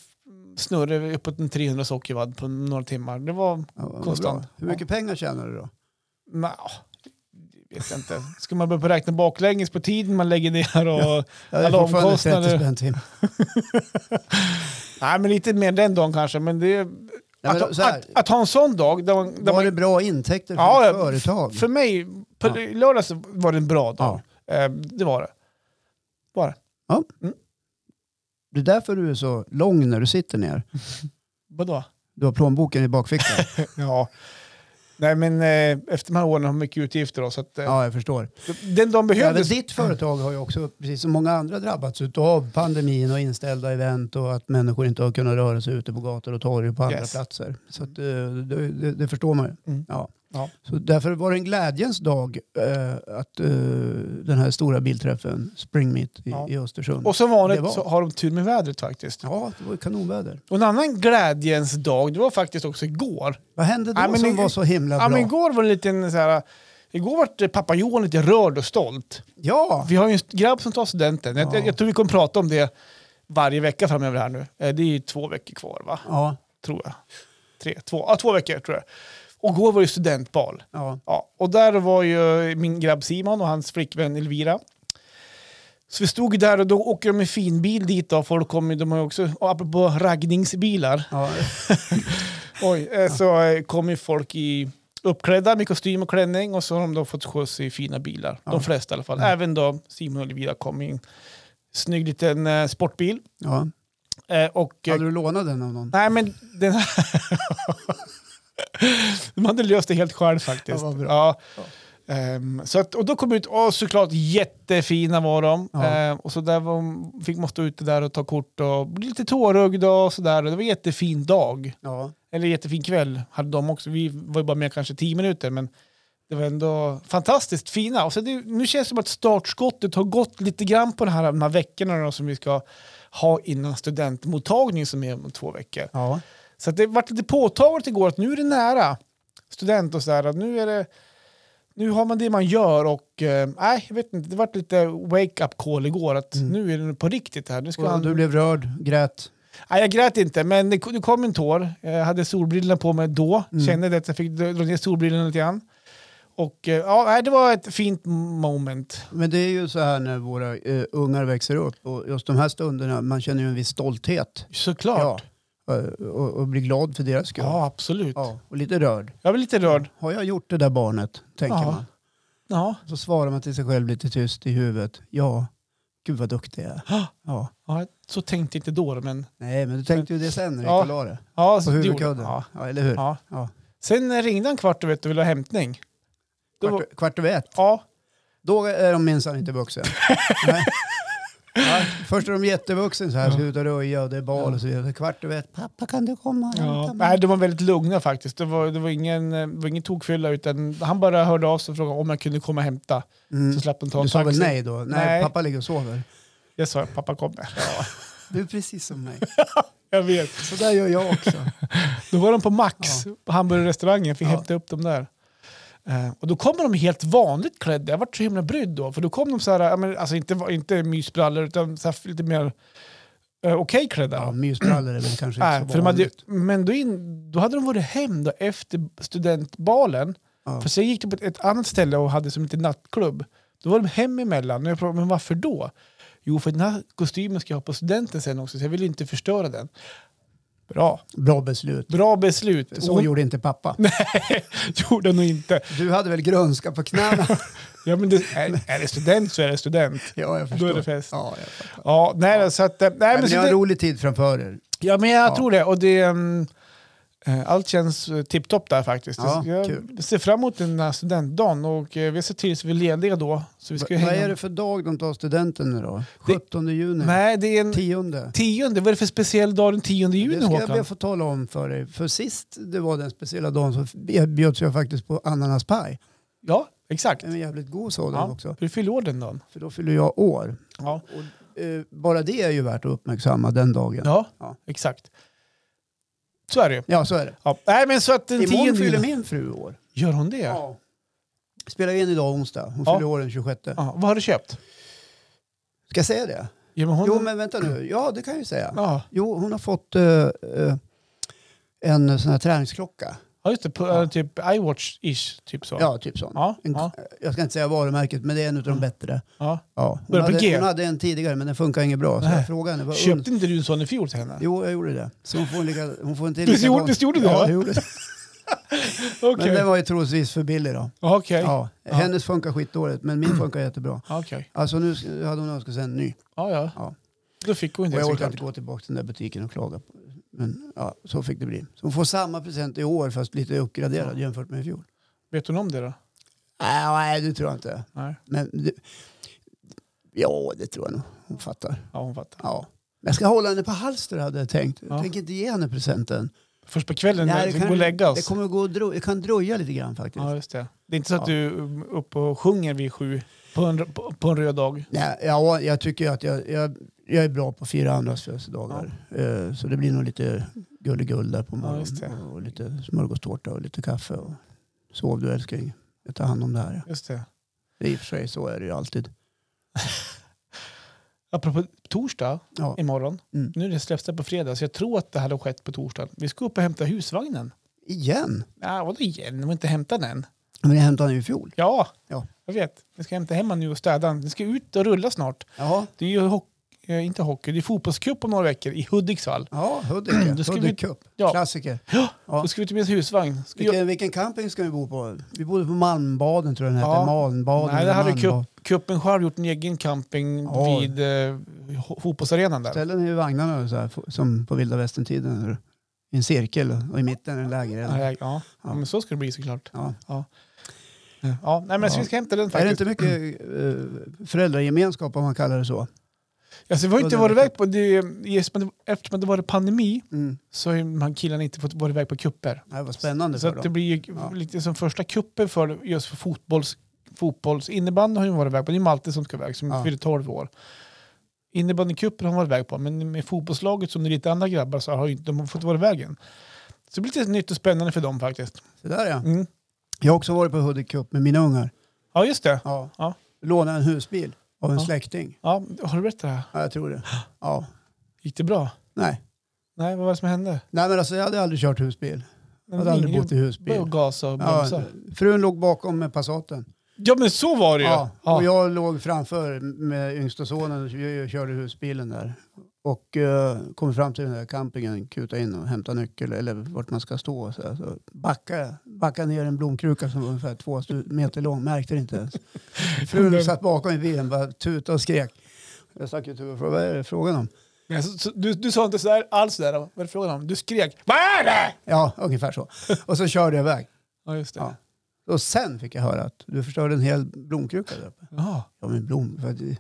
[SPEAKER 3] snurre uppåt en 300 sockervadd på några timmar. Det var,
[SPEAKER 1] Ja, vad bra.
[SPEAKER 3] konstant.
[SPEAKER 1] Hur mycket pengar tjänar du då?
[SPEAKER 3] nja, jag vet inte. Ska man börja räkna baklänges på tiden man lägger ner och...
[SPEAKER 1] Jag är
[SPEAKER 3] Alla
[SPEAKER 1] fortfarande 30
[SPEAKER 3] omkostnader.
[SPEAKER 1] spänn tim.
[SPEAKER 3] Nej, men lite mer den dagen kanske. Men det,
[SPEAKER 1] men
[SPEAKER 3] att,
[SPEAKER 1] så här.
[SPEAKER 3] att, att ha en sån dag där man, där
[SPEAKER 1] Var
[SPEAKER 3] man
[SPEAKER 1] det bra intäkter för
[SPEAKER 3] Ja,
[SPEAKER 1] ditt
[SPEAKER 3] ja,
[SPEAKER 1] företag?
[SPEAKER 3] För mig, på
[SPEAKER 1] Ja.
[SPEAKER 3] lördags var det en bra dag. Eh, det var det. Var det.
[SPEAKER 1] Det är därför du är så lång när du sitter ner.
[SPEAKER 3] Vadå? [laughs]
[SPEAKER 1] Du har plånboken i bakfickan.
[SPEAKER 3] Ja. Nej, men eh, efter de här åren har mycket utgifter. Då, så att, eh,
[SPEAKER 1] Ja, jag förstår.
[SPEAKER 3] Den de
[SPEAKER 1] Även
[SPEAKER 3] behövdes.
[SPEAKER 1] ditt företag har ju också, precis som många andra, drabbats av pandemin och inställda event och att människor inte har kunnat röra sig ute på gator och torg och på andra
[SPEAKER 3] Yes.
[SPEAKER 1] platser. Så att, eh, det, det, det förstår man ju.
[SPEAKER 3] Mm.
[SPEAKER 1] Ja.
[SPEAKER 3] Ja.
[SPEAKER 1] Så därför var det en glädjens dag eh, att eh, den här stora bilträffen, Spring Meet i,
[SPEAKER 3] Ja.
[SPEAKER 1] i Östersund.
[SPEAKER 3] Och som
[SPEAKER 1] Det
[SPEAKER 3] vanligt
[SPEAKER 1] var.
[SPEAKER 3] så har de tur med vädret faktiskt.
[SPEAKER 1] ja, det var ju kanonväder.
[SPEAKER 3] Och en annan glädjens dag, det var faktiskt också igår.
[SPEAKER 1] Vad hände då
[SPEAKER 3] Ja, men
[SPEAKER 1] som
[SPEAKER 3] i-
[SPEAKER 1] var så himla
[SPEAKER 3] Ja,
[SPEAKER 1] bra?
[SPEAKER 3] men igår var det en liten så här... Igår var det pappa Johan lite rörd och stolt.
[SPEAKER 1] ja,
[SPEAKER 3] Vi har ju en grabb som tar studenten. Jag,
[SPEAKER 1] Ja.
[SPEAKER 3] jag, jag tror vi kommer prata om det varje vecka framöver här nu. Eh, Det är ju två veckor kvar va?
[SPEAKER 1] ja,
[SPEAKER 3] Tror jag. Tre, två, ja, två veckor tror jag. Och igår var det studentbal.
[SPEAKER 1] ja.
[SPEAKER 3] Ja, och där var ju min grabb Simon och hans flickvän Elvira. Så vi stod där och då åker de med finbil dit och folk kommer, de har ju också, och apropå raggningsbilar,
[SPEAKER 1] ja.
[SPEAKER 3] oj, eh, så eh, kom ju folk i uppklädda med kostym och klänning och så har de då fått skjuts i fina bilar.
[SPEAKER 1] Ja.
[SPEAKER 3] De flesta i alla fall.
[SPEAKER 1] Mm.
[SPEAKER 3] Även då Simon och Elvira kom i en snygg liten eh, sportbil.
[SPEAKER 1] ja.
[SPEAKER 3] Eh, och, eh,
[SPEAKER 1] Hade du lånat den av någon?
[SPEAKER 3] Nej men den här... [laughs] De hade löst det helt själv faktiskt.
[SPEAKER 1] Ja, vad bra.
[SPEAKER 3] Ja. Ehm, så att, och då kom ut, och såklart jättefina var de.
[SPEAKER 1] Ja.
[SPEAKER 3] Ehm, och så där var, de- fick man stå ute där och ta kort och bli lite tårögda och sådär. Det var en jättefin dag.
[SPEAKER 1] Ja,
[SPEAKER 3] Eller jättefin kväll hade de också. Vi var ju bara med kanske tio minuter men det var ändå fantastiskt fina. Och så det, nu känns det som att startskottet har gått lite grann på den här, de här veckorna då, som vi ska ha innan studentmottagning som är om två veckor.
[SPEAKER 1] ja.
[SPEAKER 3] Så att det vart lite påtagligt igår att nu är det nära student och sådär. att Nu, är det, nu har man det man gör och eh, nej, jag vet inte, det vart lite wake-up call igår att nu är det på riktigt här. Nu ska
[SPEAKER 1] Mm. Och
[SPEAKER 3] han,
[SPEAKER 1] du blev rörd, grät.
[SPEAKER 3] nej, jag grät inte, men det, det kom en tår. Jag hade solbrillorna på mig då,
[SPEAKER 1] Mm.
[SPEAKER 3] kände det att jag fick dra dra ner solbrillorna lite grann. Och eh, ja, nej, det var ett fint moment.
[SPEAKER 1] Men det är ju så här när våra eh, ungar växer upp och just de här stunderna, man känner ju en viss stolthet.
[SPEAKER 3] Såklart.
[SPEAKER 1] Ja, eh, och, och blir glad för deras skull.
[SPEAKER 3] Ja, absolut.
[SPEAKER 1] Ja, och lite rörd.
[SPEAKER 3] Jag var lite rörd.
[SPEAKER 1] Har jag gjort det där barnet, tänker
[SPEAKER 3] Ja.
[SPEAKER 1] man.
[SPEAKER 3] Ja.
[SPEAKER 1] Så svarar man till sig själv lite tyst i huvudet. Ja, gud vad duktig jag är. Ja.
[SPEAKER 3] ja, så tänkte jag inte då, men
[SPEAKER 1] Nej, men du tänkte ju det sen när du
[SPEAKER 3] Ja.
[SPEAKER 1] gick och la det.
[SPEAKER 3] ja, så
[SPEAKER 1] På
[SPEAKER 3] det gjorde-
[SPEAKER 1] huvudkudden.
[SPEAKER 3] Ja.
[SPEAKER 1] Ja. eller hur?
[SPEAKER 3] Ja.
[SPEAKER 1] Ja.
[SPEAKER 3] Sen ringde han kvart över ett och ville ha hämtning. Då var,
[SPEAKER 1] Kvart, kvart över ett.
[SPEAKER 3] ja,
[SPEAKER 1] Då är de minsann inte
[SPEAKER 3] [laughs]
[SPEAKER 1] vuxen. Nej. Ja, först är de jättevuxen så här, ska ut och röja och det är bal och så vidare. Kvart över ett, pappa kan du komma och hämta
[SPEAKER 3] ja.
[SPEAKER 1] mig?
[SPEAKER 3] Nej, de var väldigt lugna faktiskt. Det var, det var ingen, eh, det var ingen tokfylla utan han bara hörde av sig och frågade om jag kunde komma och hämta.
[SPEAKER 1] Mm.
[SPEAKER 3] Så slapp de ta en
[SPEAKER 1] Du sa
[SPEAKER 3] taxi.
[SPEAKER 1] väl nej då? Nej,
[SPEAKER 3] Nej.
[SPEAKER 1] pappa ligger och sover.
[SPEAKER 3] Jag sa pappa kommer. [laughs]
[SPEAKER 1] Du är precis som mig.
[SPEAKER 3] Jag vet.
[SPEAKER 1] Så där gör jag också.
[SPEAKER 3] Då var de på Max, på hamburgerrestaurangen, fick
[SPEAKER 1] Ja.
[SPEAKER 3] hämta upp dem där. Eh, och då kommer de helt vanligt klädda. Jag vart så himla brydd då. För då kom de så här, ja, men, alltså inte, inte mysbrallor utan så här, lite mer eh, okej klädda.
[SPEAKER 1] Ja, mysbrallor är väl kanske inte
[SPEAKER 3] Nej,
[SPEAKER 1] så
[SPEAKER 3] för de hade,
[SPEAKER 1] vanligt.
[SPEAKER 3] men då, in, då hade de varit hem då efter studentbalen.
[SPEAKER 1] Ja.
[SPEAKER 3] För sen gick de på ett, ett annat ställe och hade som lite nattklubb. Då var de hem emellan. Och jag frågade, men varför då? Jo, för den här kostymen ska jag ha på studenten sen också, så jag vill inte förstöra den. Bra,
[SPEAKER 1] Bra beslut.
[SPEAKER 3] bra beslut.
[SPEAKER 1] Så
[SPEAKER 3] Och hon [laughs]
[SPEAKER 1] gjorde inte pappa.
[SPEAKER 3] gjorde hon nog inte.
[SPEAKER 1] Du hade väl grönska på
[SPEAKER 3] [laughs]
[SPEAKER 1] knäna?
[SPEAKER 3] Ja, men det, är, är det student så är det student.
[SPEAKER 1] ja, jag
[SPEAKER 3] Då
[SPEAKER 1] förstår.
[SPEAKER 3] är det fest.
[SPEAKER 1] Ja, jag fattar.
[SPEAKER 3] Ja, nej, så att, eh, nej,
[SPEAKER 1] Nej,
[SPEAKER 3] men
[SPEAKER 1] men
[SPEAKER 3] så
[SPEAKER 1] ni har en
[SPEAKER 3] det,
[SPEAKER 1] rolig tid framför er.
[SPEAKER 3] ja, men jag
[SPEAKER 1] Ja.
[SPEAKER 3] tror det. Och det mm, eh, allt känns eh, tipptopp där faktiskt.
[SPEAKER 1] Ja,
[SPEAKER 3] jag
[SPEAKER 1] kul.
[SPEAKER 3] ser fram emot den här studentdagen och eh, vi ser till så vi är lediga då. Så vi ska
[SPEAKER 1] Vad
[SPEAKER 3] hänga.
[SPEAKER 1] är det för dag de tar studenten nu då? 17 juni?
[SPEAKER 3] Nej, det är en
[SPEAKER 1] 10?
[SPEAKER 3] tionde. Vad är det för speciell dag den tionde juni,
[SPEAKER 1] Det ska jag
[SPEAKER 3] Håkan?
[SPEAKER 1] be att få tala om för dig. För sist det var den speciella dagen så bjöds jag faktiskt på ananaspaj.
[SPEAKER 3] Ja, exakt.
[SPEAKER 1] En jävligt god sådan
[SPEAKER 3] Ja,
[SPEAKER 1] också.
[SPEAKER 3] du fyller år den dagen.
[SPEAKER 1] För då fyller jag år.
[SPEAKER 3] Ja,
[SPEAKER 1] Och, eh, bara det är ju värt att uppmärksamma den dagen. Ja,
[SPEAKER 3] ja,
[SPEAKER 1] Ja.
[SPEAKER 3] exakt. Så är det ju.
[SPEAKER 1] så är det.
[SPEAKER 3] Ja. Nej, men så att den
[SPEAKER 1] Imorgon
[SPEAKER 3] tionde
[SPEAKER 1] fyller
[SPEAKER 3] juni...
[SPEAKER 1] min fru år.
[SPEAKER 3] Gör hon det? Ja.
[SPEAKER 1] Ja. Spelar in idag onsdag. Hon
[SPEAKER 3] Ja.
[SPEAKER 1] fyller år den 26.
[SPEAKER 3] Vad har du köpt?
[SPEAKER 1] Ska jag säga det?
[SPEAKER 3] Ja, men hon...
[SPEAKER 1] Jo men vänta nu. Ja det kan jag ju säga.
[SPEAKER 3] Ja,
[SPEAKER 1] Jo hon har fått eh, eh, en sån här träningsklocka.
[SPEAKER 3] ja, just det. På,
[SPEAKER 1] Ja.
[SPEAKER 3] eh, Typ iWatch-ish, typ så.
[SPEAKER 1] Ja typ sån.
[SPEAKER 3] Ja,
[SPEAKER 1] En,
[SPEAKER 3] ja, Mm.
[SPEAKER 1] Jag ska inte säga varumärket men det är en av de bättre.
[SPEAKER 3] ja.
[SPEAKER 1] Ja, hon,
[SPEAKER 3] Börjar på
[SPEAKER 1] hade,
[SPEAKER 3] G.
[SPEAKER 1] hon hade en tidigare men den funkar inget bra. Så
[SPEAKER 3] Nej.
[SPEAKER 1] jag frågade henne. Vad und-
[SPEAKER 3] Köpte inte du en sån i fjol till henne?
[SPEAKER 1] jo, jag gjorde det. Så hon får en lika, hon får inte
[SPEAKER 3] Visst
[SPEAKER 1] likadan-
[SPEAKER 3] gjorde- visst gjorde du det,
[SPEAKER 1] Ja,
[SPEAKER 3] va?
[SPEAKER 1] jag gjorde det. Men
[SPEAKER 3] Okej.
[SPEAKER 1] den var ju troligtvis för billig då.
[SPEAKER 3] Okej.
[SPEAKER 1] Ja, hennes funkar skitdåligt men min funkar jättebra.
[SPEAKER 3] Okej.
[SPEAKER 1] Alltså nu sk- hade hon önskat sig en ny.
[SPEAKER 3] Ja, ja.
[SPEAKER 1] Ja.
[SPEAKER 3] Då fick hon
[SPEAKER 1] Och
[SPEAKER 3] inte
[SPEAKER 1] jag
[SPEAKER 3] det
[SPEAKER 1] orkar inte
[SPEAKER 3] såklart.
[SPEAKER 1] gå tillbaka till den där butiken och klaga. På. Men ja, så fick det bli. Så hon får samma present i år fast lite uppgraderad jämfört med i fjol.
[SPEAKER 3] Vet hon om det då?
[SPEAKER 1] Äh, nej, det tror jag inte.
[SPEAKER 3] Nej.
[SPEAKER 1] Men det, ja, det tror jag nog. Hon fattar.
[SPEAKER 3] Ja, hon fattar.
[SPEAKER 1] Ja. Men Jag ska hålla henne på halster hade jag tänkt. Jag
[SPEAKER 3] Ja.
[SPEAKER 1] tänker inte ge henne presenten.
[SPEAKER 3] Först på kvällen när vi går och lägga
[SPEAKER 1] det
[SPEAKER 3] oss.
[SPEAKER 1] kommer gå och dro, det kan dröja lite grann faktiskt.
[SPEAKER 3] Alltså. Ja, just det. Det är inte så att
[SPEAKER 1] Ja.
[SPEAKER 3] du är uppe och sjunger vid sju på en, på, på en röd dag.
[SPEAKER 1] Nej, ja, jag tycker att jag, jag, jag är bra på fyra andras födelsedagar. Eh, Så det blir nog lite gulligull där på morgonen.
[SPEAKER 3] just det.
[SPEAKER 1] och lite smörgåstårta och lite kaffe. Och sov du älskling. Jag tar hand om det här.
[SPEAKER 3] Just det.
[SPEAKER 1] Det är I och för sig så är det ju alltid.
[SPEAKER 3] Apropå torsdag
[SPEAKER 1] Ja.
[SPEAKER 3] imorgon.
[SPEAKER 1] Mm.
[SPEAKER 3] Nu är det släpps det på fredag så jag tror att det här har skett på torsdag. Vi ska upp och hämta husvagnen.
[SPEAKER 1] Igen?
[SPEAKER 3] Ja, vadå igen? De har inte hämtat den än.
[SPEAKER 1] Men jag hämtade den ju i fjol.
[SPEAKER 3] Ja,
[SPEAKER 1] Ja.
[SPEAKER 3] jag vet. Vi ska hämta hem den nu och städa den. Den ska ut och rulla snart.
[SPEAKER 1] Jaha.
[SPEAKER 3] Det är ju hock- eh, inte hockey, det är fotbollscup om några veckor i Hudiksvall.
[SPEAKER 1] Ja, Hudik.
[SPEAKER 3] [clears throat] Då ska vi-
[SPEAKER 1] Hudik Cup.
[SPEAKER 3] Ja.
[SPEAKER 1] Klassiker. Ja.
[SPEAKER 3] Då ska vi ta med oss husvagn. Ska jag...
[SPEAKER 1] Vilken, vilken camping ska vi bo på? Vi bodde på Malmbaden tror jag den hette.
[SPEAKER 3] Ja.
[SPEAKER 1] Malmbaden.
[SPEAKER 3] Nej, det hade
[SPEAKER 1] Malmbaden.
[SPEAKER 3] cup, cupen själv gjort en egen camping
[SPEAKER 1] Ja.
[SPEAKER 3] vid eh, ho- fotbollsarenan där.
[SPEAKER 1] Ställen är ju vagnarna så här, f- som på vilda västern-tiden. är det I en cirkel och i mitten är en lägereld.
[SPEAKER 3] Nej, Ja, ja, men så ska det bli såklart.
[SPEAKER 1] Ja.
[SPEAKER 3] Ja, nej, men så
[SPEAKER 1] Ja.
[SPEAKER 3] vi ska hämta den
[SPEAKER 1] Är det
[SPEAKER 3] faktiskt.
[SPEAKER 1] inte mycket eh, föräldragemenskap om man kallar det så?
[SPEAKER 3] Alltså, vi har ju inte
[SPEAKER 1] Ja,
[SPEAKER 3] varit
[SPEAKER 1] den är
[SPEAKER 3] iväg på, det, eftersom det- eftersom det varit pandemi
[SPEAKER 1] Mm.
[SPEAKER 3] så har ju de här killarna inte fått vara iväg på kupper.
[SPEAKER 1] Det här var spännande
[SPEAKER 3] Så
[SPEAKER 1] för
[SPEAKER 3] att det
[SPEAKER 1] dem.
[SPEAKER 3] blir ju
[SPEAKER 1] Ja.
[SPEAKER 3] lite som första kuppen för just för fotbolls, fotbolls innebandy har ju varit iväg på. Det är Malte som ska iväg som
[SPEAKER 1] Ja.
[SPEAKER 3] fyller 12 år. Innebandycupen har han varit iväg på, men med fotbollslaget som det är lite andra grabbar så har ju inte de har fått vara iväg än. Så det blir lite nytt och spännande för dem faktiskt.
[SPEAKER 1] Så där, ja.
[SPEAKER 3] Mm.
[SPEAKER 1] Jag har också varit på Hudik Cup med mina ungar.
[SPEAKER 3] Ja, just det.
[SPEAKER 1] Ja.
[SPEAKER 3] Ja.
[SPEAKER 1] Lånade en husbil av en
[SPEAKER 3] Ja.
[SPEAKER 1] släkting.
[SPEAKER 3] Ja, har du berättat det här?
[SPEAKER 1] Ja, jag tror det. Ja.
[SPEAKER 3] Gick det bra?
[SPEAKER 1] Nej.
[SPEAKER 3] Nej, vad var det som hände?
[SPEAKER 1] Nej, men alltså jag hade aldrig kört husbil. Jag
[SPEAKER 3] Den
[SPEAKER 1] hade aldrig
[SPEAKER 3] ringde ju
[SPEAKER 1] bott i
[SPEAKER 3] bara
[SPEAKER 1] husbil.
[SPEAKER 3] och gasade och
[SPEAKER 1] Ja,
[SPEAKER 3] bromsade.
[SPEAKER 1] frun låg bakom med Passaten.
[SPEAKER 3] Ja men så var det ju.
[SPEAKER 1] Ja,
[SPEAKER 3] Ja,
[SPEAKER 1] och jag låg framför med yngsta sonen och vi körde husbilen där. Och eh, kom fram till den där campingen, kuta in och hämta nyckel eller vart man ska stå. Så, här. så backa, backa ner en blomkruka som var ungefär två stu- meter lång, märkte det inte ens. Frun satt bakom i bilen bara tutade och skrek. Jag stack ut huvudet och frågade vad är det frågan om?
[SPEAKER 3] Men så, så, du, du sa inte sådär alls där. Vad är det frågan om? Du skrek Vad är det?
[SPEAKER 1] Ja, ungefär så. Och så körde jag iväg.
[SPEAKER 3] Ja just det.
[SPEAKER 1] Ja.
[SPEAKER 3] Ja.
[SPEAKER 1] Och sen fick jag höra att du förstörde en hel blomkruka där uppe. Ja men blom, för det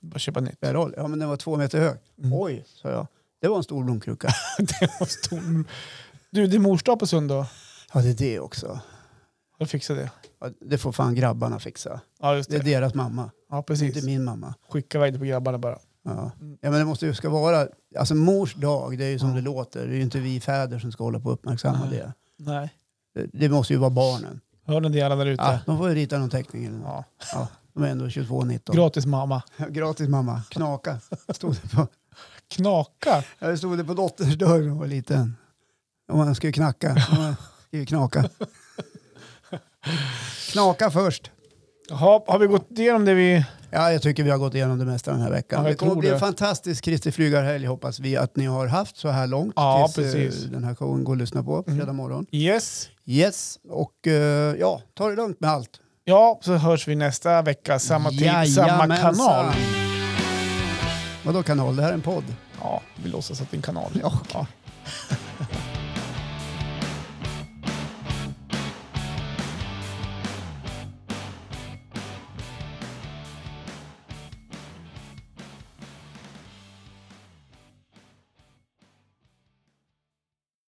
[SPEAKER 3] Bara köpa nytt.
[SPEAKER 1] spelar roll. Ja men den var två meter hög. Oj, sa jag. Det var en stor blomkruka.
[SPEAKER 3] det var [laughs] stor. Du, det är mors dag på söndag.
[SPEAKER 1] [laughs] Ja, det är det också.
[SPEAKER 3] Har du fixat det?
[SPEAKER 1] Ja, det får fan grabbarna fixa.
[SPEAKER 3] Ja just
[SPEAKER 1] Det
[SPEAKER 3] det.
[SPEAKER 1] är deras mamma,
[SPEAKER 3] Ja
[SPEAKER 1] inte
[SPEAKER 3] precis.
[SPEAKER 1] min mamma.
[SPEAKER 3] Skicka iväg det på grabbarna bara.
[SPEAKER 1] Ja. ja, men det måste ju ska vara... Alltså mors dag, det är ju som det låter. Det är ju inte vi fäder som ska hålla på och uppmärksamma
[SPEAKER 3] Nej.
[SPEAKER 1] det.
[SPEAKER 3] Nej.
[SPEAKER 1] det. Det måste ju vara barnen.
[SPEAKER 3] Hör ni det alla där ute?
[SPEAKER 1] Ja,
[SPEAKER 3] Ja.
[SPEAKER 1] de får ju rita någon teckning eller något. Ja, de är ändå 22-19.
[SPEAKER 3] Gratis mamma.
[SPEAKER 1] Gratis mamma, knaka. Stod det, på,
[SPEAKER 3] Knaka.
[SPEAKER 1] ja, det stod det på dotterns dörr när hon var liten. Om man skulle knacka. Om man skulle
[SPEAKER 3] [laughs]
[SPEAKER 1] knaka. knaka först.
[SPEAKER 3] Jaha, har vi gått igenom det vi...
[SPEAKER 1] Ja, jag tycker vi har gått igenom det mesta den här veckan.
[SPEAKER 3] Ja, jag
[SPEAKER 1] det kommer
[SPEAKER 3] tror
[SPEAKER 1] bli en
[SPEAKER 3] det.
[SPEAKER 1] fantastisk Kristi flygarhelg hoppas vi att ni har haft så här långt.
[SPEAKER 3] Ja,
[SPEAKER 1] tills eh,
[SPEAKER 3] precis. Mm.
[SPEAKER 1] den här showen går att lyssna på fredag morgon.
[SPEAKER 3] Yes.
[SPEAKER 1] Yes, och eh, ja, ta det lugnt med allt.
[SPEAKER 3] Ja, så hörs vi nästa vecka. Samma tid, samma
[SPEAKER 1] Jajamensan.
[SPEAKER 3] kanal.
[SPEAKER 1] Vadå kanal? Det här är en podd.
[SPEAKER 3] Ja, vi låtsas att det är en kanal.
[SPEAKER 1] Ja,
[SPEAKER 3] Ja.